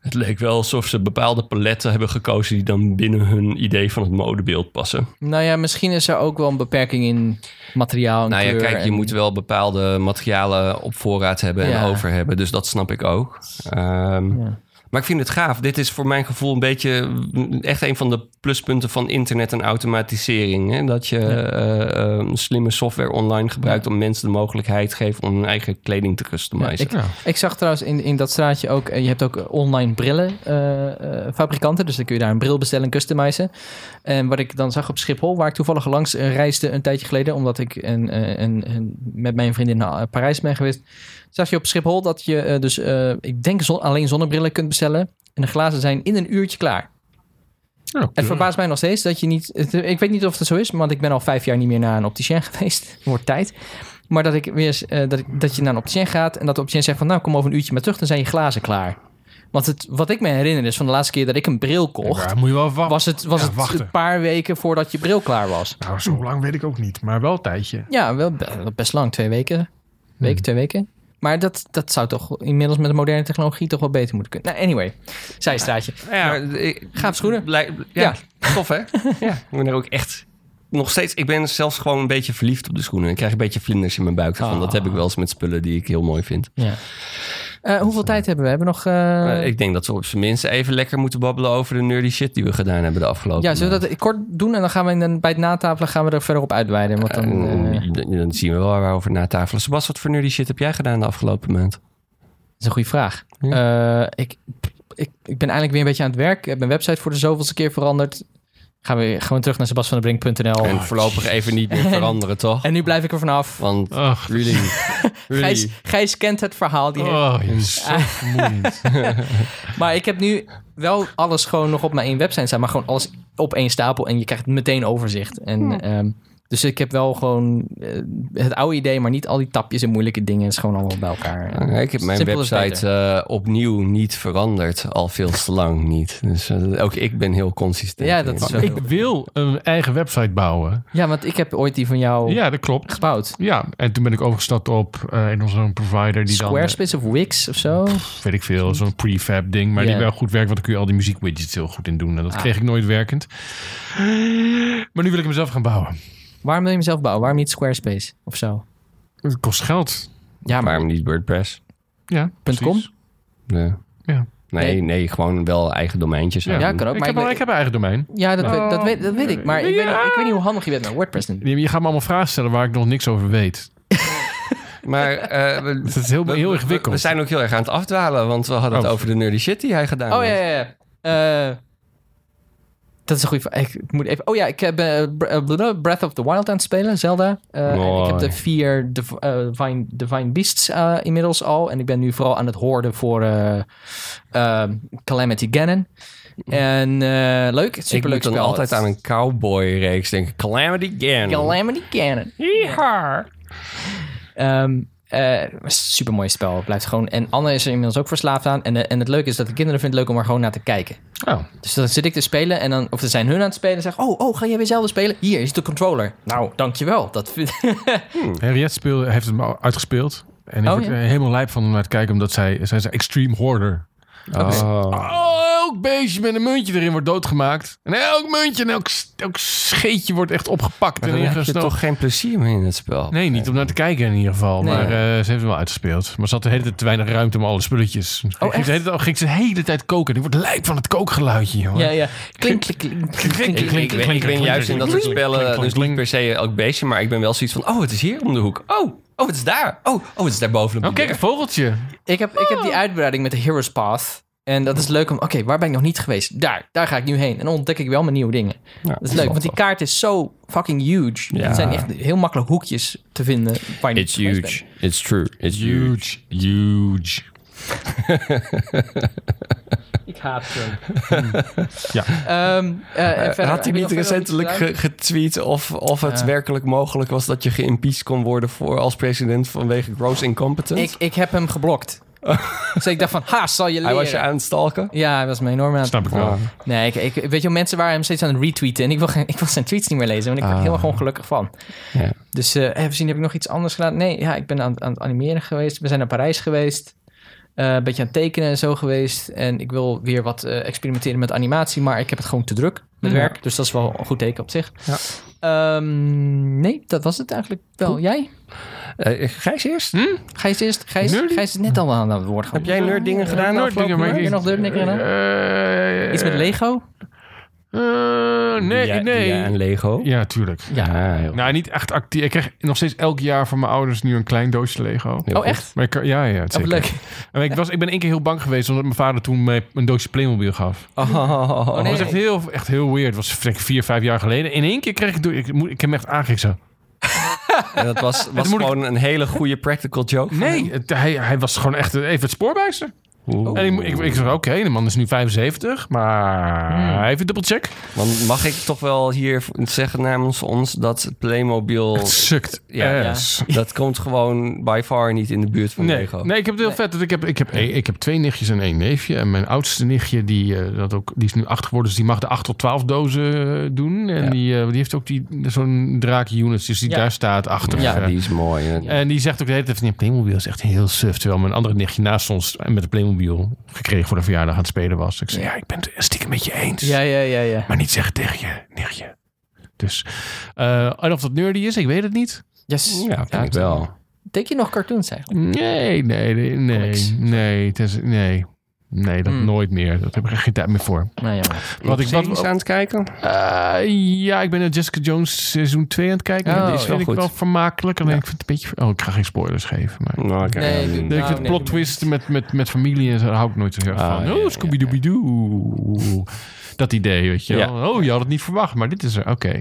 B: Het leek wel alsof ze bepaalde paletten hebben gekozen die dan binnen hun idee van het modebeeld passen.
A: nou ja, misschien is er ook wel een beperking in materiaal en
B: nou ja,
A: kleur
B: kijk, je
A: en-
B: moet wel bepaalde materialen op voorraad hebben en
A: Ja.
B: over hebben. Dus dat snap ik ook. Ehm,
A: Ja.
B: Maar ik vind het gaaf. Dit is voor mijn gevoel een beetje mm, echt een van de pluspunten van internet en automatisering. Hè? Dat je eh, eh, slimme software online gebruikt om mensen de mogelijkheid geeft om hun eigen kleding te customizen.
A: Ja, Ik zag trouwens in, in dat straatje ook, eh, je hebt ook online brillenfabrikanten, fabrikanten dus dan kun je daar een bril bestellen en customizen. En wat ik dan zag op Schiphol, waar ik toevallig langs eh, reisde een tijdje geleden, omdat ik en eh, en- en met mijn vriendin naar eh, Parijs ben geweest, zag je op Schiphol dat je eh, dus, eh, ik denk zon- alleen zonnebrillen kunt bestellen en de glazen zijn in een uurtje klaar.
C: Ja,
A: Het verbaast mij nog steeds dat je niet. het- ik weet niet of het zo is, want ik ben al vijf jaar niet meer naar een opticien <laughs> geweest. Wordt tijd. Maar dat, ik weer, eens, eh, dat, ik, dat je naar een opticien gaat en dat de opticien zegt van nou kom over een uurtje maar terug, dan zijn je glazen klaar. Want het, wat ik me herinner is van de laatste keer dat ik een bril kocht,
C: Ja, moet je wel wachten.
A: was het, was
C: Ja,
A: het
C: wachten.
A: een paar weken voordat je bril klaar was.
C: Nou, zo lang weet ik ook niet, maar wel een tijdje.
A: Ja, wel be- best lang, twee weken. Week, twee weken. Maar dat, dat zou toch inmiddels met de moderne technologie toch wel beter moeten kunnen. Nou, anyway, zijstraatje.
B: Nou Ja, ik-
A: Gaaf schoenen.
B: blij- ja, tof hè? ja, ik ben er ook echt nog steeds. Ik ben zelfs gewoon een beetje verliefd op de schoenen. Ik krijg een beetje vlinders in mijn buik. Van. Dat heb ik wel eens met spullen die ik heel mooi vind.
A: Ja. Eh, hoeveel tijd hebben we? Hebben we nog... eh,
B: Maar ik denk dat we op zijn minst even lekker moeten babbelen over de nerdy shit die we gedaan hebben de afgelopen.
A: Ja, zullen we dat kort doen en dan gaan we in de- bij het natafelen gaan we er verder op uitweiden. Want dan,
B: En,
A: eh,
B: eh, dan, dan zien we wel waar we over natafelen. Sebas, wat voor nerdy shit heb jij gedaan de afgelopen maand?
A: Dat is een goede vraag. Eh, ik, ik, ik ben eigenlijk weer een beetje aan het werk. Ik heb mijn website voor de zoveelste keer veranderd. Gaan we gewoon terug naar sebasvandebrink.nl.
B: en
A: En,
B: voorlopig
A: <laughs>
B: even niet meer veranderen, toch?
A: nu blijf ik er vanaf.
B: Want
C: Ach,
A: <laughs>
B: really, really.
A: Oh. Gijs, Gijs kent het verhaal. Die heeft-
C: oh, je is zo vermoeiend.
A: Maar ik heb nu wel alles gewoon nog op mijn één website staan. Maar gewoon alles op één stapel. En je krijgt meteen overzicht. En, ehm, dus ik heb wel gewoon eh, het oude idee, maar niet al die tapjes en moeilijke dingen. Het is gewoon allemaal bij elkaar.
B: Ah, Ik heb mijn
A: Simpel is
B: website eh, opnieuw niet veranderd, al veel te lang niet. Dus eh, ook ik ben heel consistent.
A: Ja, dat is wel-
C: <laughs> ik wil een eigen website bouwen.
A: Ja, want ik heb ooit die van jou
C: Ja, dat klopt.
A: gebouwd.
C: Ja, en toen ben ik overgestapt op eh, een of zo'n provider die dan... eh,
A: Squarespace of Wix of zo.
C: weet ik veel, zo'n prefab ding. Maar
A: Ja.
C: die wel goed werkt, want dan kun je al die muziekwidgets heel goed in doen. En dat kreeg ik nooit werkend. Maar nu wil ik hem zelf gaan bouwen.
A: Waarom wil je hem zelf bouwen? Waarom niet Squarespace of zo?
C: Het kost geld.
A: Ja, maar
B: Waarom niet WordPress?
C: Ja,
A: Punt
C: precies.
A: com?
B: Ja.
C: Ja.
B: Nee, nee, gewoon wel eigen domeintjes.
A: ja,
B: aandoen.
A: kan ook.
C: Ik,
A: Maar
C: heb,
A: ik,
C: al- ik heb een eigen domein.
A: ja, dat, weet, dat, weet, dat weet ik. Maar ik, weet,
C: Ja.
A: ik weet niet hoe handig je bent met WordPress. nu.
C: Je je gaat me allemaal vragen stellen waar ik nog niks over weet.
A: <laughs>
B: Maar eh, we-
C: Dat is heel,
B: we-
C: heel
B: we-
C: ingewikkeld.
B: We zijn ook heel erg aan het afdwalen, want we hadden het
C: Oh.
B: over de nerdy shit die hij gedaan
A: Oh ja,
B: had.
A: ja, ja. Eh, dat is een goede vraag. Ik moet even. Oh ja, ik heb eh, Br- eh, blah, Breath of the Wild aan het spelen, Zelda. Eh, en ik heb
B: Mooi.
A: de vier Div- eh, Divine, Divine Beasts eh, inmiddels al. En ik ben nu vooral aan het hoorden voor eh, eh, Calamity Ganon. En eh, leuk, superleuk
B: ik moet dan
A: spel.
B: altijd aan een cowboy-reeks denken. Calamity Ganon.
A: Calamity Ganon. Ehm, super mooi spel. Blijft gewoon. En Anne is er inmiddels ook verslaafd aan. En, eh, en het leuke is dat de kinderen vinden het leuk om er gewoon naar te kijken.
C: Oh,
A: Dus dan zit ik te spelen en dan, of dan zijn hun aan het spelen en zeggen: Oh, oh, ga jij weer zelf spelen? Hier is de controller. Nou, dankjewel. Dat vind <laughs>
C: Henriette speelde, heeft hem al uitgespeeld. En ik
A: Oh,
C: word
A: ja.
C: er helemaal lijp van om naar te kijken, omdat zij, zij is een extreme hoarder. Dus-
B: Oh.
C: Oh, elk beestje met een muntje erin wordt doodgemaakt. En elk muntje en elk, elk scheetje wordt echt opgepakt
B: Maar
C: en
B: dan heb je
C: ingesnoven.
B: toch geen plezier meer in het spel.
C: Nee, niet om naar te kijken in ieder geval.
A: Nee.
C: Maar eh, ze heeft hem wel uitgespeeld. Maar ze had de hele tijd te weinig ruimte om alle spulletjes.
A: Oh,
C: Ging
A: echt?
C: ze de hele tijd, ging ze de hele tijd koken. Ik word lijp van het kookgeluidje,
B: Oh.
C: jongen.
A: ja, ja. Klink, klink, klink, klink, klink.
B: Ik, ik, ik, ik ben juist in dat soort spellen dus niet per se elk beestje, maar ik ben wel zoiets van, oh, het is hier om de hoek. Oh, oh, het is daar. Oh, oh, het is daar boven op de
C: Oh, kijk,
B: berg.
C: een vogeltje.
A: Ik heb, ik heb die uitbreiding met de Hero's Path. En dat is leuk om, oké, waar ben ik nog niet geweest? Daar, daar ga ik nu heen. En dan ontdek ik wel mijn nieuwe dingen.
B: Ja,
A: Dat is leuk, want die kaart is zo fucking huge.
B: Ja.
A: Het zijn echt heel makkelijk hoekjes te vinden. Waar je niet
B: It's
A: geweest
B: huge. It's true. It's huge.
C: Huge. Huge.
A: bent. Ik haat hem.
C: Ja.
A: Ehm, eh,
B: Eh, Had hij niet recentelijk ge- getweet of, of het werkelijk mogelijk was dat je geïmpeached kon worden voor als president vanwege gross incompetence?
A: Ik, ik heb hem geblokt. dus ik dacht van, ha, zal je
B: Oh. Hij was je
A: leren.
B: aan het stalken?
A: Ja, hij was me enorm aan het-
C: Snap ik wel.
A: Nee, ik, ik, weet je, wel, mensen waren hem steeds aan het retweeten. En ik wil, geen, ik wil zijn tweets niet meer lezen, want ik word er heel erg ongelukkig van.
B: Ah. Ja.
A: Dus eh even zien, heb ik nog iets anders gedaan? Nee, ja, ik ben aan, aan het animeren geweest. We zijn naar Parijs geweest. Eh, een beetje aan het tekenen en zo geweest. En ik wil weer wat eh, experimenteren met animatie, maar ik heb het gewoon te druk met werk. Dus dat is wel een goed teken op zich.
B: Ja.
A: Ehm, nee, dat was het eigenlijk wel. Jij?
B: Eh, Gijs eerst?
A: Gijs eerst. Gijs,
C: Nerdy?
A: Gijs is net al aan het woord.
B: Heb jij nerd dingen gedaan? de
C: Nooit
B: afgelopen
C: dingen, maar
B: maand?
C: ik-
A: Heb je nog leuk dingen gedaan?
C: Eh,
A: Iets met Lego?
C: eh, nee,
B: Ja,
C: nee.
B: Ja, en Lego.
C: Ja, tuurlijk.
A: Ja.
B: Ah, heel-
C: Nou, niet echt actief. Ik krijg nog steeds elk jaar van mijn ouders nu een klein doosje Lego.
B: heel
A: Oh,
B: goed.
A: echt?
C: Maar ik, kan- ja, ja,
A: Oh,
C: zeker.
A: wat leuk.
C: En ik, was, ik ben één keer heel bang geweest omdat mijn vader toen mij een doosje Playmobil gaf.
B: <laughs> Oh.
A: nee.
C: Dat was echt heel, echt heel weird. Dat was denk ik, vier, vijf jaar geleden. In één keer kreeg ik... door- Ik, moet- ik heb me echt aangekeken zo.
B: En dat was, was
C: moet ik-
B: gewoon een hele goede practical joke.
C: Nee, het- hij, hij was gewoon echt even het spoorbijster.
B: Oeh.
C: En ik, ik, ik zeg, oké, de man is nu 75, maar even dubbelcheck.
B: Want mag ik toch wel hier zeggen namens ons dat Playmobil...
C: Het sukt.
B: Ja,
C: ass.
B: Dat komt gewoon by far niet in de buurt van
C: Eh. Nee,
B: Lego.
C: nee, ik heb het heel vet. Dat ik, heb, ik, heb, ik heb twee nichtjes en één neefje. En mijn oudste nichtje, die, eh, dat ook, die is nu acht geworden. Dus die mag de 8 tot 12 dozen eh, doen. En
B: Ja.
C: die, eh, die heeft ook die, zo'n draak-unit. Dus die
A: Ja.
C: daar staat achter.
A: Ja,
C: Eh,
B: Die is mooi. hè?
C: En die zegt ook de hele tijd van... Ja, Playmobil is echt heel suf. Terwijl mijn andere nichtje naast ons eh, met de Playmobil... gekregen voor de verjaardag aan het spelen was. Ik zei, ja, ik ben het stiekem met je eens.
A: Ja, ja, ja, ja.
C: Maar niet zeggen tegen je nichtje. Dus, eh, en of dat nerdy is, ik weet het niet.
A: Yes.
B: Ja, vind ik wel.
A: Denk je nog cartoons eigenlijk?
C: Nee, nee, nee, nee,
A: Comics.
C: nee, tenzij- nee. Nee, dat
A: Hmm.
C: nooit meer. Dat heb ik echt geen tijd meer voor.
A: Nou, jammer.
C: Wat ik, wat,
B: Series aan het kijken?
C: Eh, ja, ik ben naar Jessica Jones seizoen 2 aan het kijken.
A: Oh,
C: die
A: is
C: is
B: wel
C: vind ik
B: goed.
C: wel vermakelijk. Alleen ik vind het een beetje... Oh, ik ga geen spoilers geven. Maar...
B: Nou, oké.
A: Nee,
B: Ja,
A: doe-
C: Nee, ik
A: Nou,
C: vind
A: nee,
C: plot twist met, met, met familie en zo, daar hou ik nooit zo heel erg
B: Ah,
C: van.
B: ja,
C: oh,
B: ja,
C: Scooby-Dooby-Doo. Dat idee, weet je
B: Ja.
C: wel. Oh, je had het niet verwacht, maar dit is er. Oké.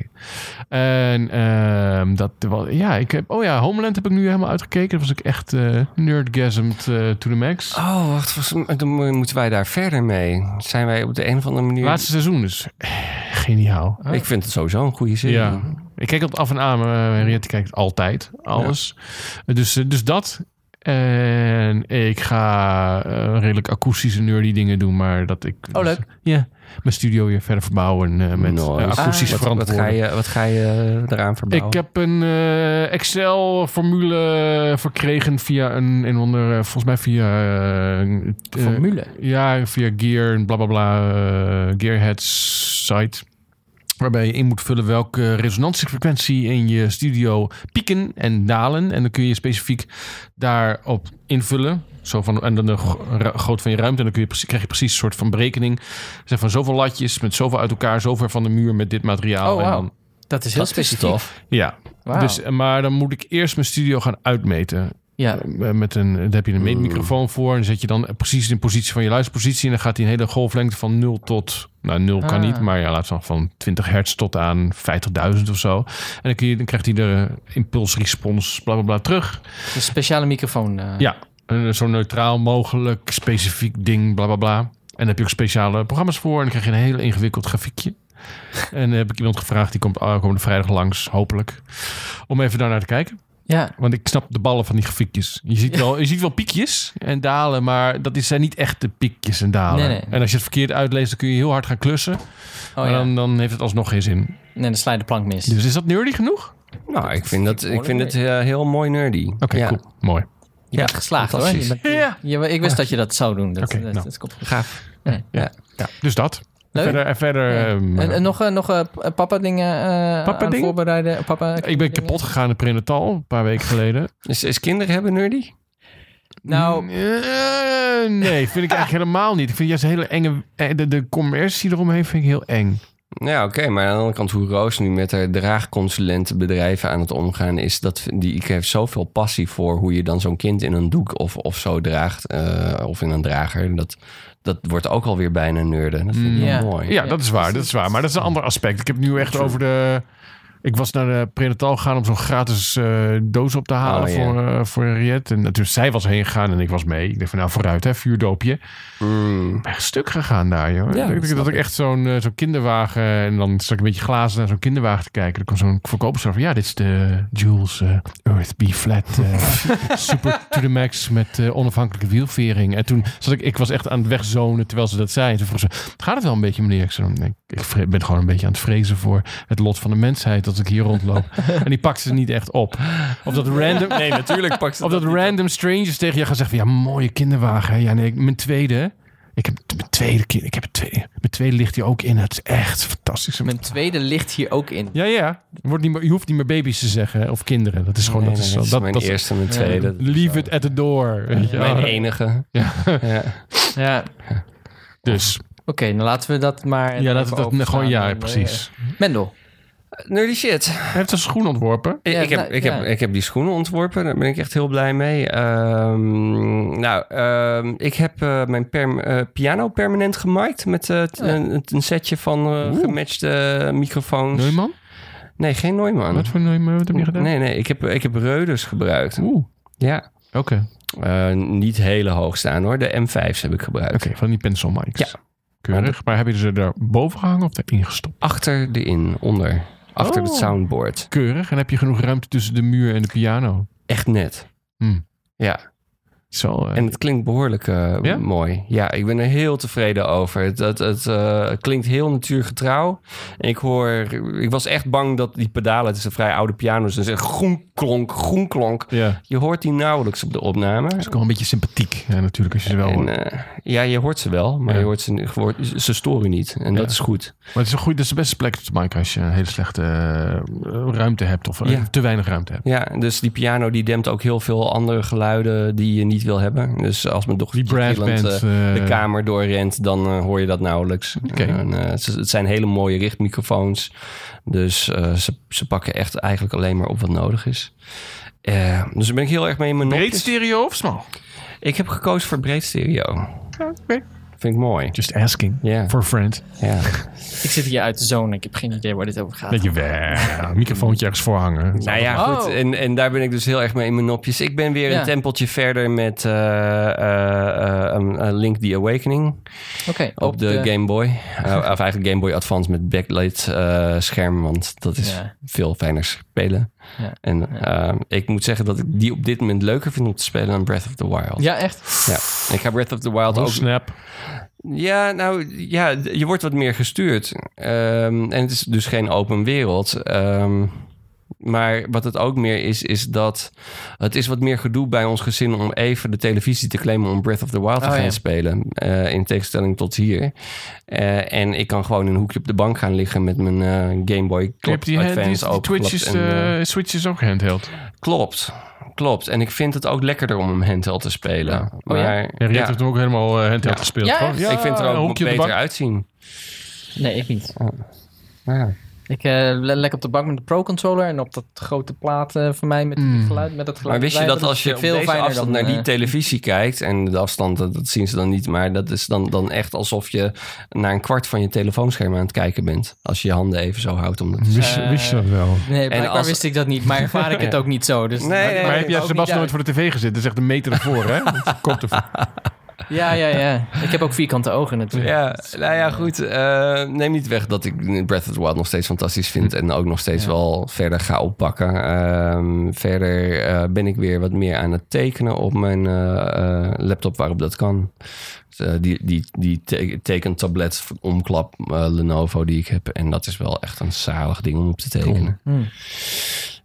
C: En ehm, dat wel, ja, ik heb, oh ja, Homeland heb ik nu helemaal uitgekeken. Dat was ik echt eh nerdgasmed eh, to the max.
B: Oh, wacht. volgens- Dan mo- moeten wij daar verder mee. Zijn wij op de een of andere manier...
C: Laatste seizoen dus. Eh, Geniaal.
B: Ik vind het sowieso een goede serie.
C: Ja. Ik kijk het af en aan, maar eh, Henriette kijkt altijd alles. Dus, eh, dus dat. En ik ga eh, redelijk akoestische nerdy dingen doen, maar dat ik...
A: Oh, leuk.
C: Ja, mijn studio weer verder verbouwen eh, met
B: Nice.
C: eh, akoestisch
B: Ah, Wat, wat,
C: verantwoorden.
B: ga je, wat ga je eraan verbouwen?
C: Ik heb een eh, Excel-formule verkregen via een, een of andere, volgens mij via... eh, t- eh,
A: Formule.
C: ja, via Gear en blablabla, bla eh, Gearheads site. Waarbij je in moet vullen welke resonantiefrequentie in je studio pieken en dalen. En dan kun je specifiek daarop invullen. Zo van, en dan de groot van je ruimte. En dan kun je, precies- krijg je precies een soort van berekening. Zeg van zoveel latjes met zoveel uit elkaar, zover van de muur met dit materiaal.
A: Oh,
C: en
A: wauw.
C: dan,
A: Dat is heel
B: Dat is
A: specifiek.
B: tof.
C: ja.
A: Wauw.
C: Dus, eh, maar dan moet ik eerst mijn studio gaan uitmeten.
A: ja.
C: Eh, Met een, daar heb je een meetmicrofoon voor. En dan zet je dan precies in positie van je luisterpositie. En dan gaat die een hele golflengte van 0 tot... Nou, 0 kan
A: Ah.
C: niet, maar ja, laat van, van 20 hertz tot aan 50.000 of zo. En dan, kun je, dan krijgt hij de impuls-respons bla, bla, bla terug.
A: Een speciale microfoon. eh.
C: Ja, een zo neutraal mogelijk, specifiek ding, bla, bla, bla. En daar heb je ook speciale programma's voor. En dan krijg je een heel ingewikkeld grafiekje. en dan heb ik iemand gevraagd, die komt ah, komende vrijdag langs, hopelijk. Om even daarnaar te kijken.
A: Ja.
C: Want ik snap de ballen van die grafiekjes. Je ziet wel, je ziet wel piekjes en dalen, maar dat is- zijn niet echt de piekjes en dalen.
A: Nee, nee.
C: En als je het verkeerd uitleest, dan kun je heel hard gaan klussen.
A: Oh
C: maar
A: ja.
C: dan, dan heeft het alsnog geen zin.
A: Nee, dan sla je de plank mis.
C: Dus is dat nerdy genoeg?
B: Nou, ik vind, dat, ik vind het
A: mooi.
B: eh, heel mooi nerdy.
C: Oké, cool. Mooi.
A: Je bent geslaagd hoor. Je
B: fantastisch.
A: bent-
C: Ja.
A: je- ik wist dat je dat zou doen. Dat,
C: Oké,
A: dat,
C: nou.
A: dat komt goed.
B: Gaaf.
C: Dus dat.
A: Leuk.
C: Verder, en verder
A: Ja.
C: ehm,
A: En, en nog, eh, nog papa dingen eh
C: Papa
A: aan
C: dingen?
A: voorbereiden? Papa,
C: ik ben kapot gegaan in Prenatal een paar weken geleden.
B: Is, is kinderen hebben nerdy?
A: Nou,
C: Eh, nee, vind ik eigenlijk helemaal niet. Ik vind juist een hele enge... eh, De, de commercie eromheen vind ik heel eng.
B: Ja, oké, maar aan de andere kant, hoe Roos nu met haar draagconsulentenbedrijven aan het omgaan is, dat die ik heb zoveel passie voor hoe je dan zo'n kind in een doek of, of zo draagt, eh, of in een drager. Dat, dat wordt ook alweer bijna nerden. Dat vind ik
A: Mm.
B: wel
A: Ja.
B: mooi.
C: Ja, dat is waar. Dat is waar. Maar dat is een ander aspect. Ik heb nu echt over de. Ik was naar de prenatal gegaan om zo'n gratis eh, doos op te halen
B: Oh, ja.
C: voor, eh, voor Riet. En natuurlijk, zij was heen gegaan en ik was mee. Ik dacht van nou vooruit, hè, vuurdoopje.
B: Mm.
C: Ik ben echt stuk gegaan daar, joh.
B: dat
C: dat, dat,
B: snap
C: ik
B: ik.
C: echt zo'n eh, zo'n kinderwagen. En dan zat ik een beetje glazen naar zo'n kinderwagen te kijken. Dan kwam zo'n verkoper zo van ja, dit is de Jules eh, Earth B flat. eh, <laughs> super to the max met eh, onafhankelijke wielvering. En toen zat ik, ik was echt aan het wegzonen terwijl ze dat zei. En toen vroeg ze, gaat het wel een beetje meneer? Ik, zei, "Nee, ik vre- ben gewoon een beetje aan het vrezen voor het lot van de mensheid dat ik hier rondloop. en die pakte ze niet echt op. Of dat random... Nee, <laughs>
B: Natuurlijk pak ze
C: of dat random strangers tegen je gaan zeggen van, ja, mooie kinderwagen. hè. Ja, nee, ik- mijn tweede. Ik heb t- mijn tweede kind. Ik heb het tweede. Mijn tweede ligt hier ook in. Het is echt fantastisch.
A: mijn tweede ligt hier ook in.
C: Ja, ja. Wordt niet meer, je hoeft niet meer baby's te zeggen hè, of kinderen. Dat is gewoon. dat is, zo-
B: Oh, dat is
C: dat,
B: mijn
C: dat is-
B: eerste, mijn tweede.
C: Leave it at the door. weet je wel.
B: Mijn enige.
C: Ja.
B: Ja.
A: Ja. Oké,
C: Dus
A: nou laten we dat maar.
C: ja, dat,
A: even
C: dat,
A: openslaan
C: gewoon ja,
A: en, eh,
C: precies.
A: Mendel.
B: <laughs> Nerdy shit.
C: Hij heeft een schoen ontworpen.
B: Ik-
A: Ja,
B: ik, heb,
A: nou,
B: ik,
A: ja.
B: heb, ik heb die schoenen ontworpen. Daar ben ik echt heel blij mee. Ehm, nou, ehm, ik heb eh, mijn perm- eh, piano permanent gemaakt met eh, t-
A: Oh ja.
B: een, een setje van eh,
C: Oeh.
B: gematchte microfoons.
C: Neumann?
B: Nee, geen Neumann.
C: Wat voor Neumann wat heb je gedaan?
B: Nee, nee, ik heb, ik heb Reuders gebruikt.
C: Oeh. Oké.
B: Ja,
C: Oké,
B: Eh, niet hele hoog staan hoor. De M5's heb ik gebruikt.
C: van die pencil mics.
B: Ja.
C: Keurig. Maar hebben ze er boven gehangen of erin gestopt?
B: Achter de in, onder. Achter
C: Oh.
B: het soundboard.
C: Keurig. En heb je genoeg ruimte tussen de muur en de piano?
B: Echt net.
C: Hmm.
B: Ja.
C: Zo, eh,
B: En het klinkt behoorlijk eh,
C: Ja?
B: mooi. Ja, ik ben er heel tevreden over. Het, het, het, eh, het klinkt heel natuurgetrouw. En ik hoor... Ik was echt bang dat die pedalen... Het is een vrij oude piano. Dus het is echt groen klonk, groen klonk.
C: ja, het
B: Je hoort die nauwelijks op de opname.
C: is ook wel een beetje sympathiek ja, natuurlijk als je ze wel
B: En,
C: hoort.
B: eh, ja, je hoort ze wel. Maar
C: Ja.
B: je hoort ze, niet- je hoort- ze- ze storen niet. En
C: Ja.
B: dat is goed.
C: Maar het is, een goede, dat is de beste plek op de mic als je een hele slechte eh, ruimte hebt of eh,
B: Ja.
C: te weinig ruimte hebt.
B: Ja, dus die piano die dempt ook heel veel andere geluiden... die je niet wil hebben. Dus als mijn dochter
C: Die brass band.
B: de
C: eh,
B: kamer doorrent, dan eh, hoor je dat nauwelijks.
C: Oké.
B: En, eh, het, het zijn hele mooie richtmicrofoons. Dus eh, ze, ze pakken echt eigenlijk alleen maar op wat nodig is. Eh, dus daar ben ik heel erg mee in mijn
C: Breed
B: nopjes.
C: stereo Ah, of smal?
B: Ik heb gekozen voor breed stereo. Vind ik mooi.
C: Just asking.
B: Ja,
C: For a friend.
B: ja.
A: Ik zit hier uit de zone. Ik heb geen idee waar dit over gaat.
C: Dat je wel. Microfoontje ergens voor hangen.
B: Nou ja,
A: Oh.
B: goed. En, en daar ben ik dus heel erg mee in mijn nopjes. Ik ben weer
A: Ja.
B: een tempeltje verder met eh, eh, eh, een- een Link the Awakening.
A: Oké,
B: Op de, Game Boy. Eh, of eigenlijk Game Boy Advance met backlight eh, scherm. Want dat is
A: Ja.
B: veel fijner spelen.
A: Ja.
B: En eh, ik moet zeggen dat ik die op dit moment leuker vind om te spelen dan Breath of the Wild.
A: Ja, echt.
B: Ja. Ik ga Breath of the Wild
C: Oh,
B: ook...
C: snap.
B: Ja, nou, ja, je wordt wat meer gestuurd. Ehm, en het is dus geen open wereld. Ehm, maar wat het ook meer is, is dat... Het is wat meer gedoe bij ons gezin om even de televisie te claimen... om Breath of the Wild te
A: Oh,
B: gaan
A: ja.
B: spelen. eh, in tegenstelling tot hier. Eh, en ik kan gewoon in een hoekje op de bank gaan liggen... met mijn eh, Game Boy
C: Je hebt
B: Club
C: die, hand- die,
B: Advance
C: die
B: opengeklapt
C: Twitch is,
B: en, eh,
C: eh, Switch is ook handheld.
B: Klopt, klopt. En ik vind het ook lekkerder om hem handheld te spelen.
C: Ja.
A: Oh, ja?
B: Maar,
C: Ja, Riet heeft hem ook helemaal eh, handheld
B: Ja.
C: gespeeld.
A: Ja,
C: gewoon.
A: echt?
B: ik vind er
C: een
B: ook
C: hoekje op de bank.
B: beter uitzien.
A: Nee, ik niet.
B: Ja.
A: Ik eh, le- lekker op de bank met de Pro Controller en op dat grote plaat eh, van mij met die
C: Mm.
A: geluid. Met dat
B: Maar
A: geluid
B: wist je dat
A: blijven,
B: als je op
A: vind ik
B: deze
A: fijner
B: afstand
A: dan,
B: naar die
A: eh,
B: televisie kijkt... en de afstand, dat, dat zien ze dan niet... maar dat is dan, dan echt alsof je naar een kwart van je telefoonscherm aan het kijken bent. Als je je handen even zo houdt om dat te
C: Wist,
A: Eh,
C: wist je dat wel?
A: Nee, blijkbaar
B: als-
A: wist ik dat niet, maar ervaar
B: <laughs>
A: ik het ook niet zo. Dus
B: Nee, nee,
C: Maar
B: nee.
C: heb jij
A: ook
C: Sebastian
A: niet
C: <laughs> nooit voor de tv gezeten? Dat is echt een meter ervoor, hè? Komt ervoor.
A: Ja, ja, ja.
C: <laughs>
A: Ik heb ook vierkante ogen natuurlijk.
B: Ja, nou ja, goed. eh, neem niet weg dat ik Breath of the Wild nog steeds fantastisch vind. En ook nog steeds wel verder ga oppakken. Ehm, verder eh, ben ik weer wat meer aan het tekenen op mijn eh, eh, laptop waarop dat kan. Dus, eh, die die, die te- tekentablet omklap eh, Lenovo die ik heb. En dat is wel echt een zalig ding om op te tekenen.
A: Hmm.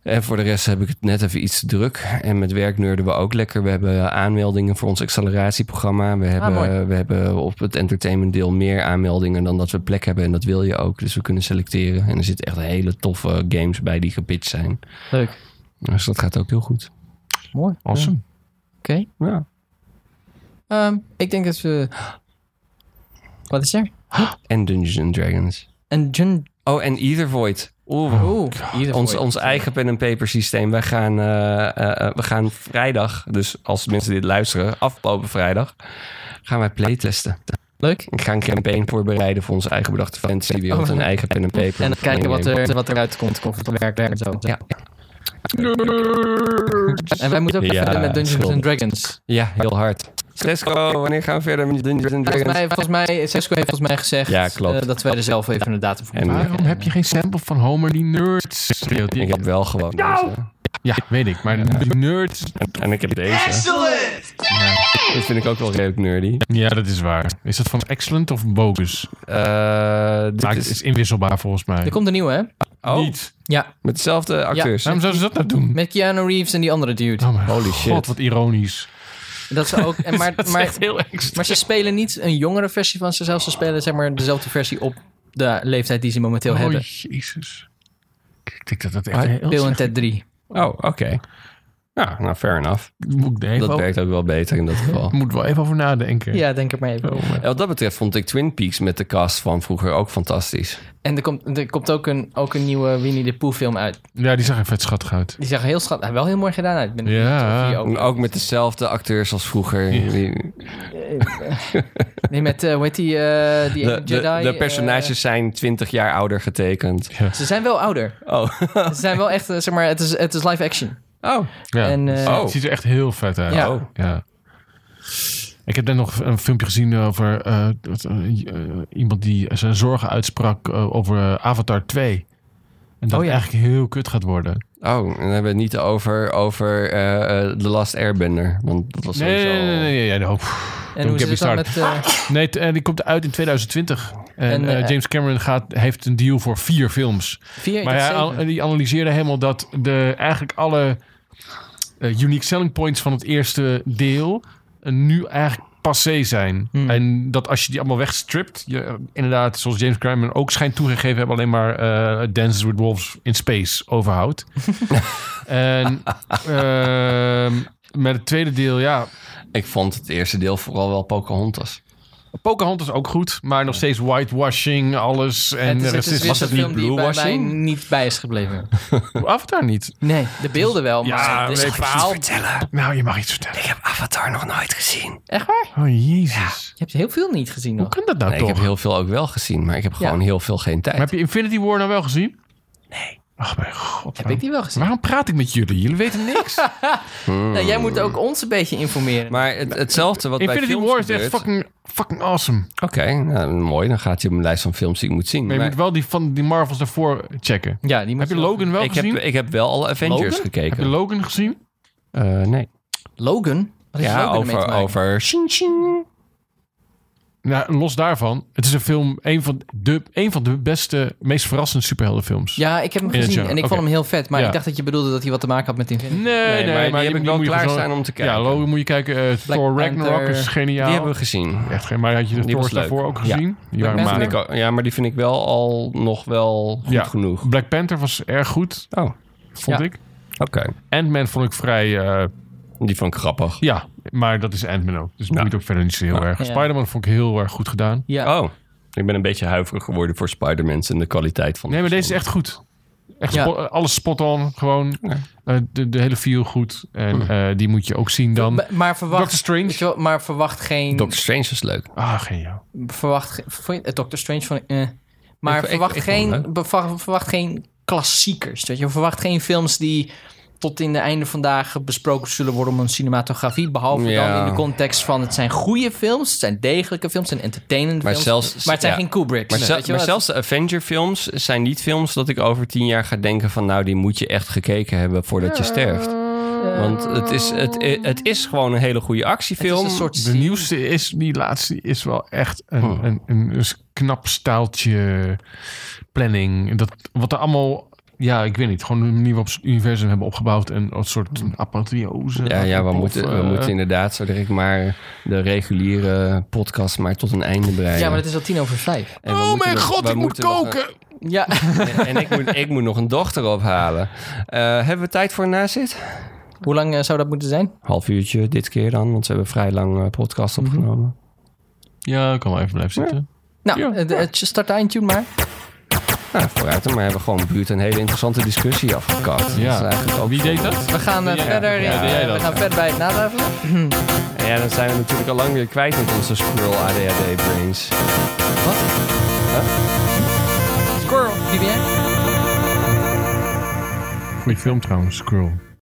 B: En voor de rest heb ik het net even iets te druk. En met werk neurden we ook lekker. We hebben aanmeldingen voor ons acceleratieprogramma. We hebben,
A: mooi.
B: we hebben op het entertainment deel meer aanmeldingen dan dat we plek hebben. En dat wil je ook. Dus we kunnen selecteren. En er zitten echt hele toffe games bij die gepitcht zijn.
A: Leuk.
B: Dus dat gaat ook heel goed.
A: Mooi.
C: Awesome.
A: Ja. Oké.
B: Ja.
A: Ehm, ik denk dat we... Wat is er?
B: En Dungeons and Dragons.
A: Een Jun...
B: Oh, en Ether Void. Oeh,
A: Oeh. Hier
B: Oh, ons,
A: voor je.
B: ons eigen pen en paper systeem. Wij gaan, eh, eh, eh, we gaan vrijdag, dus als mensen dit luisteren, afgelopen vrijdag, gaan wij playtesten.
A: Leuk.
B: Ik ga een campaign voorbereiden voor onze eigen bedachte fantasy wereld
A: Oh.
B: en eigen pen en paper.
A: En dan kijken wat, er, wat eruit komt. Of het werkt en zo.
B: Ja.
A: En wij moeten ook
B: Ja,
A: verder met Dungeons
B: schuldig.
A: and Dragons.
B: Ja, heel hard. Cesco, wanneer gaan we verder met Dungeons and
A: Volgens
B: Dragons?
A: mij, volgens mij, Sesco heeft volgens mij gezegd
B: Ja, klopt.
A: eh, dat wij er zelf even een datum voor
B: En-
A: moeten maken.
C: Waarom heb je geen sample van Homer die nerd? schreeuwt? Die-
B: Ik heb wel gewoon deze.
C: Ja, weet ik. Maar die nerd...
B: En ik heb deze. Excellent! Dit vind ik ook wel redelijk nerdy.
C: Ja, dat is waar. Is dat van excellent of bogus?
B: Eh, dit
C: Maar het
B: is
C: is inwisselbaar volgens mij.
A: Er komt een nieuwe, hè?
B: oh,
C: Niet.
A: Ja,
B: met dezelfde acteurs.
C: Waarom zouden ze dat nou doen?
A: met Keanu Reeves en die andere dude.
C: Oh mijn
B: Holy
C: god,
B: shit.
C: wat ironisch.
A: Dat ze ook... En
C: <laughs>
A: maar, maar,
C: heel extra.
A: maar ze spelen niet een jongere versie van zichzelf. Ze spelen zeg maar dezelfde versie op de leeftijd die ze momenteel
C: Oh,
A: hebben.
C: jezus. Ik denk dat dat echt
B: Ah,
C: heel
A: Bill en Ted 3.
B: Oh, oké. Ja, nou fair enough.
C: Moet ik er even
B: Dat
C: over,
B: werkt ook wel beter
C: <laughs>
B: in dat geval.
C: moet wel even over nadenken.
A: Ja, denk er maar even.
C: Oh, maar-
B: En wat dat betreft vond ik Twin Peaks met de cast van vroeger ook fantastisch.
A: En er komt, er komt ook, een, ook een nieuwe Winnie the Pooh film uit.
C: Ja, die zag er vet schattig uit.
A: Die zag er heel schat, wel heel mooi gedaan uit. Ik ben
C: Ja.
A: die
B: En
A: ook.
B: Ook met dezelfde acteurs als vroeger. Die-
A: Nee, met, eh hoe heet die, eh, die
B: De,
A: ene
B: de,
A: Jedi?
B: de
A: eh,
B: personages zijn 20 jaar ouder getekend.
A: ze zijn wel
B: <laughs>
A: ouder.
B: Oh.
A: Ze zijn wel echt, eh, zeg maar, het is, het is live action.
B: oh.
C: Ja,
A: En, eh,
C: het ziet er echt heel vet uit.
A: Ja.
B: Oh.
C: Ja. Ik heb net nog een filmpje gezien over eh, dat, eh, eh, iemand die zijn zorgen uitsprak eh, over eh, Avatar 2. En dat
A: Oh ja.
C: het eigenlijk heel kut gaat worden.
B: Oh, en dan hebben we het niet over, over eh, eh, The Last Airbender. Want dat was
C: Nee,
B: sowieso...
C: nee, nee. nee, nee, nee. Pff,
A: En
C: Don't
A: hoe
C: get
A: zit
C: me
A: het dan met...
C: started.
A: eh, <laughs>
C: Nee, t- en die komt uit in 2020. En,
A: En,
C: eh,
A: eh,
C: James Cameron gaat, heeft een deal voor vier films.
A: vier,
C: Maar
A: dat
C: hij
A: zeven.
C: al- die analyseerde helemaal dat de, eigenlijk alle eh, unique selling points van het eerste deel eh, nu eigenlijk passé zijn.
A: Hmm.
C: En dat als je die allemaal wegstript, je, eh, inderdaad, zoals James Cameron ook schijnt toegegeven hebben, alleen maar eh, Dances with Wolves in Space
B: <laughs>
C: overhoudt. en ehm, met het tweede deel, ja,
B: Ik vond het eerste deel vooral wel Pocahontas.
C: Pocahontas ook goed, maar nog steeds whitewashing, alles en
A: het is, het is
C: racisme.
A: weer
B: was
A: zo'n
B: het niet
A: film die bij mij
B: bluewashing?
A: niet bij is gebleven.
C: Avatar niet.
A: <laughs> Nee, de beelden wel, maar
C: Ja,
A: het is
C: weet
A: een
C: ik
A: verhaal.
B: vertellen.
C: Nou, je mag iets vertellen.
B: Ik heb Avatar nog nooit gezien.
A: Echt waar?
C: Oh, jezus.
A: Je hebt heel veel niet gezien
C: Hoe
A: nog.
C: kan dat nou
B: Nee, ik
C: toch?
B: heb heel veel ook wel gezien, maar ik heb gewoon heel veel geen tijd.
C: Maar heb je Infinity War nou wel gezien? Nee. Ach, mijn god.
A: Heb ik die wel gezien?
C: Waarom praat ik met jullie? Jullie
B: <laughs>
C: weten niks.
A: Nou, jij moet ook ons een beetje informeren.
B: Maar het, hetzelfde wat bij
C: Infinity
B: films
C: War is echt
B: gebeurt-
C: fucking, fucking awesome.
B: Oké, nou, mooi. Dan gaat hij op mijn lijst van films die ik moet zien.
C: Maar je
B: Maar
C: moet wel die van die Marvels daarvoor checken.
A: ja, die
C: Heb
A: moet
C: je Logan wel
B: ik, heb,
C: gezien?
B: ik heb wel alle Avengers
C: Logan?
B: gekeken.
C: Heb je Logan gezien?
B: Eh, nee.
A: Logan? Wat heeft
B: Ja,
A: Logan ermee te
B: over,
A: maken?
B: over... Shin, shin.
C: Nou, los daarvan. Het is een film, een van de, een van de beste, meest verrassende superheldenfilms.
A: Ja, ik heb hem
C: In het
A: gezien en
C: genre,
A: ik vond
C: oké.
A: hem heel vet. Maar
C: Ja.
A: ik dacht dat je bedoelde dat hij wat te maken had met Infinity.
C: Nee, nee,
B: maar die heb ik wel
C: moet je
B: klaarstaan
C: gewoon-
B: om te kijken.
C: Ja, Logan moet je kijken. eh, Thor Ragnarok
A: Panther,
C: is geniaal.
B: Die hebben we gezien.
C: Echt geen, maar had je de
B: Die
C: Thor's
B: was leuk.
C: daarvoor ook
B: Ja.
C: gezien? Die
A: Black
C: waren
B: Vind
A: Panther?
C: maar.
B: ik al- ja, maar die vind ik wel al nog wel goed
C: Ja.
B: genoeg.
C: Black Panther was erg goed,
B: Oh, oké.
C: vond
A: Ja.
C: ik. Ant-Man vond ik vrij... eh,
B: Die vond ik grappig.
C: ja, maar dat is Ant-Man ook. Dus dat
B: Ja.
C: moet ook verder niet zo heel erg.
A: Ja.
C: Spider-Man vond ik heel erg goed gedaan.
A: Ja.
B: Oh, ik ben een beetje huiverig geworden voor Spider-Man en de kwaliteit van...
C: Nee, maar deze is echt goed. Echt
A: Ja.
C: spo- eh, alles spot on, gewoon.
B: Ja. Hm.
C: Eh, de, de hele feel goed. En eh, die moet je ook zien dan.
A: Maar- Maar
C: Doctor
A: verwacht,
C: Strange.
A: weet je wel, maar verwacht geen...
B: Doctor Strange is leuk.
C: Ah, geniaal.
A: verwacht, ge- vond je- eh, Doctor Strange van... eh maar
B: Ik- ik-
A: verwacht,
B: ik vond
A: geen,
B: hem leuk.
A: beva- verwacht geen klassiekers. Weet je? wel. Verwacht geen films die tot in de einde vandaag besproken zullen worden om hun cinematografie. Behalve
B: Ja.
A: dan in de context van het zijn goede films, het zijn degelijke films, het zijn entertainend
B: Maar
A: films.
B: zelfs-
A: maar het zijn
B: ja.
A: geen Kubrick.
B: Maar, zel- maar zelfs de Avenger-films zijn niet films dat ik over tien jaar ga denken van... nou, die moet je echt gekeken hebben voordat je sterft. Want het is, het, het is gewoon een hele goede
A: het is
B: actiefilm.
A: een soort
C: De
A: scene.
C: nieuwste is, die laatste is wel echt een,
B: Oh.
C: een, een, een knap staaltje planning. Dat, wat er allemaal, ja, ik weet niet, gewoon de manier waarop ze het universum hebben opgebouwd en een soort apotheose.
B: Hmm. Ja, ja we,
C: Of,
B: moeten, we
C: eh,
B: moeten inderdaad zo direct maar de reguliere podcast maar tot een einde breien.
A: Ja, maar het is al tien over vijf.
B: En we
C: Oh
B: moeten
C: mijn
B: nog-
C: god,
B: we
C: ik moet
B: moeten nog een-
C: koken!
A: Ja,
B: en ik moet, ik moet nog een dochter ophalen. Eh, hebben we tijd voor een nazit?
A: <laughs> hoe lang eh, zou dat moeten zijn?
B: Half uurtje dit keer dan, want ze hebben vrij lang eh, podcast opgenomen.
C: Ja, ik kan wel even blijven zitten.
A: Nou,
C: Ja.
A: eh, de- eh, start de eindtune maar.
B: Nou, vooruit dan. Maar hebben we gewoon buurt een hele interessante discussie afgekapt.
C: Ja.
B: Dat is eigenlijk ook...
C: Wie deed dat?
A: We gaan eh,
C: Ja,
A: verder.
C: ja,
A: eh,
C: doe jij dat.
A: we gaan verder bij het nadavelen.
B: Ja, dan zijn we natuurlijk al lang weer kwijt met onze squirrel ADHD brains.
A: Wat? Squirrel, wie ben jij?
C: Goeie film trouwens, Squirrel.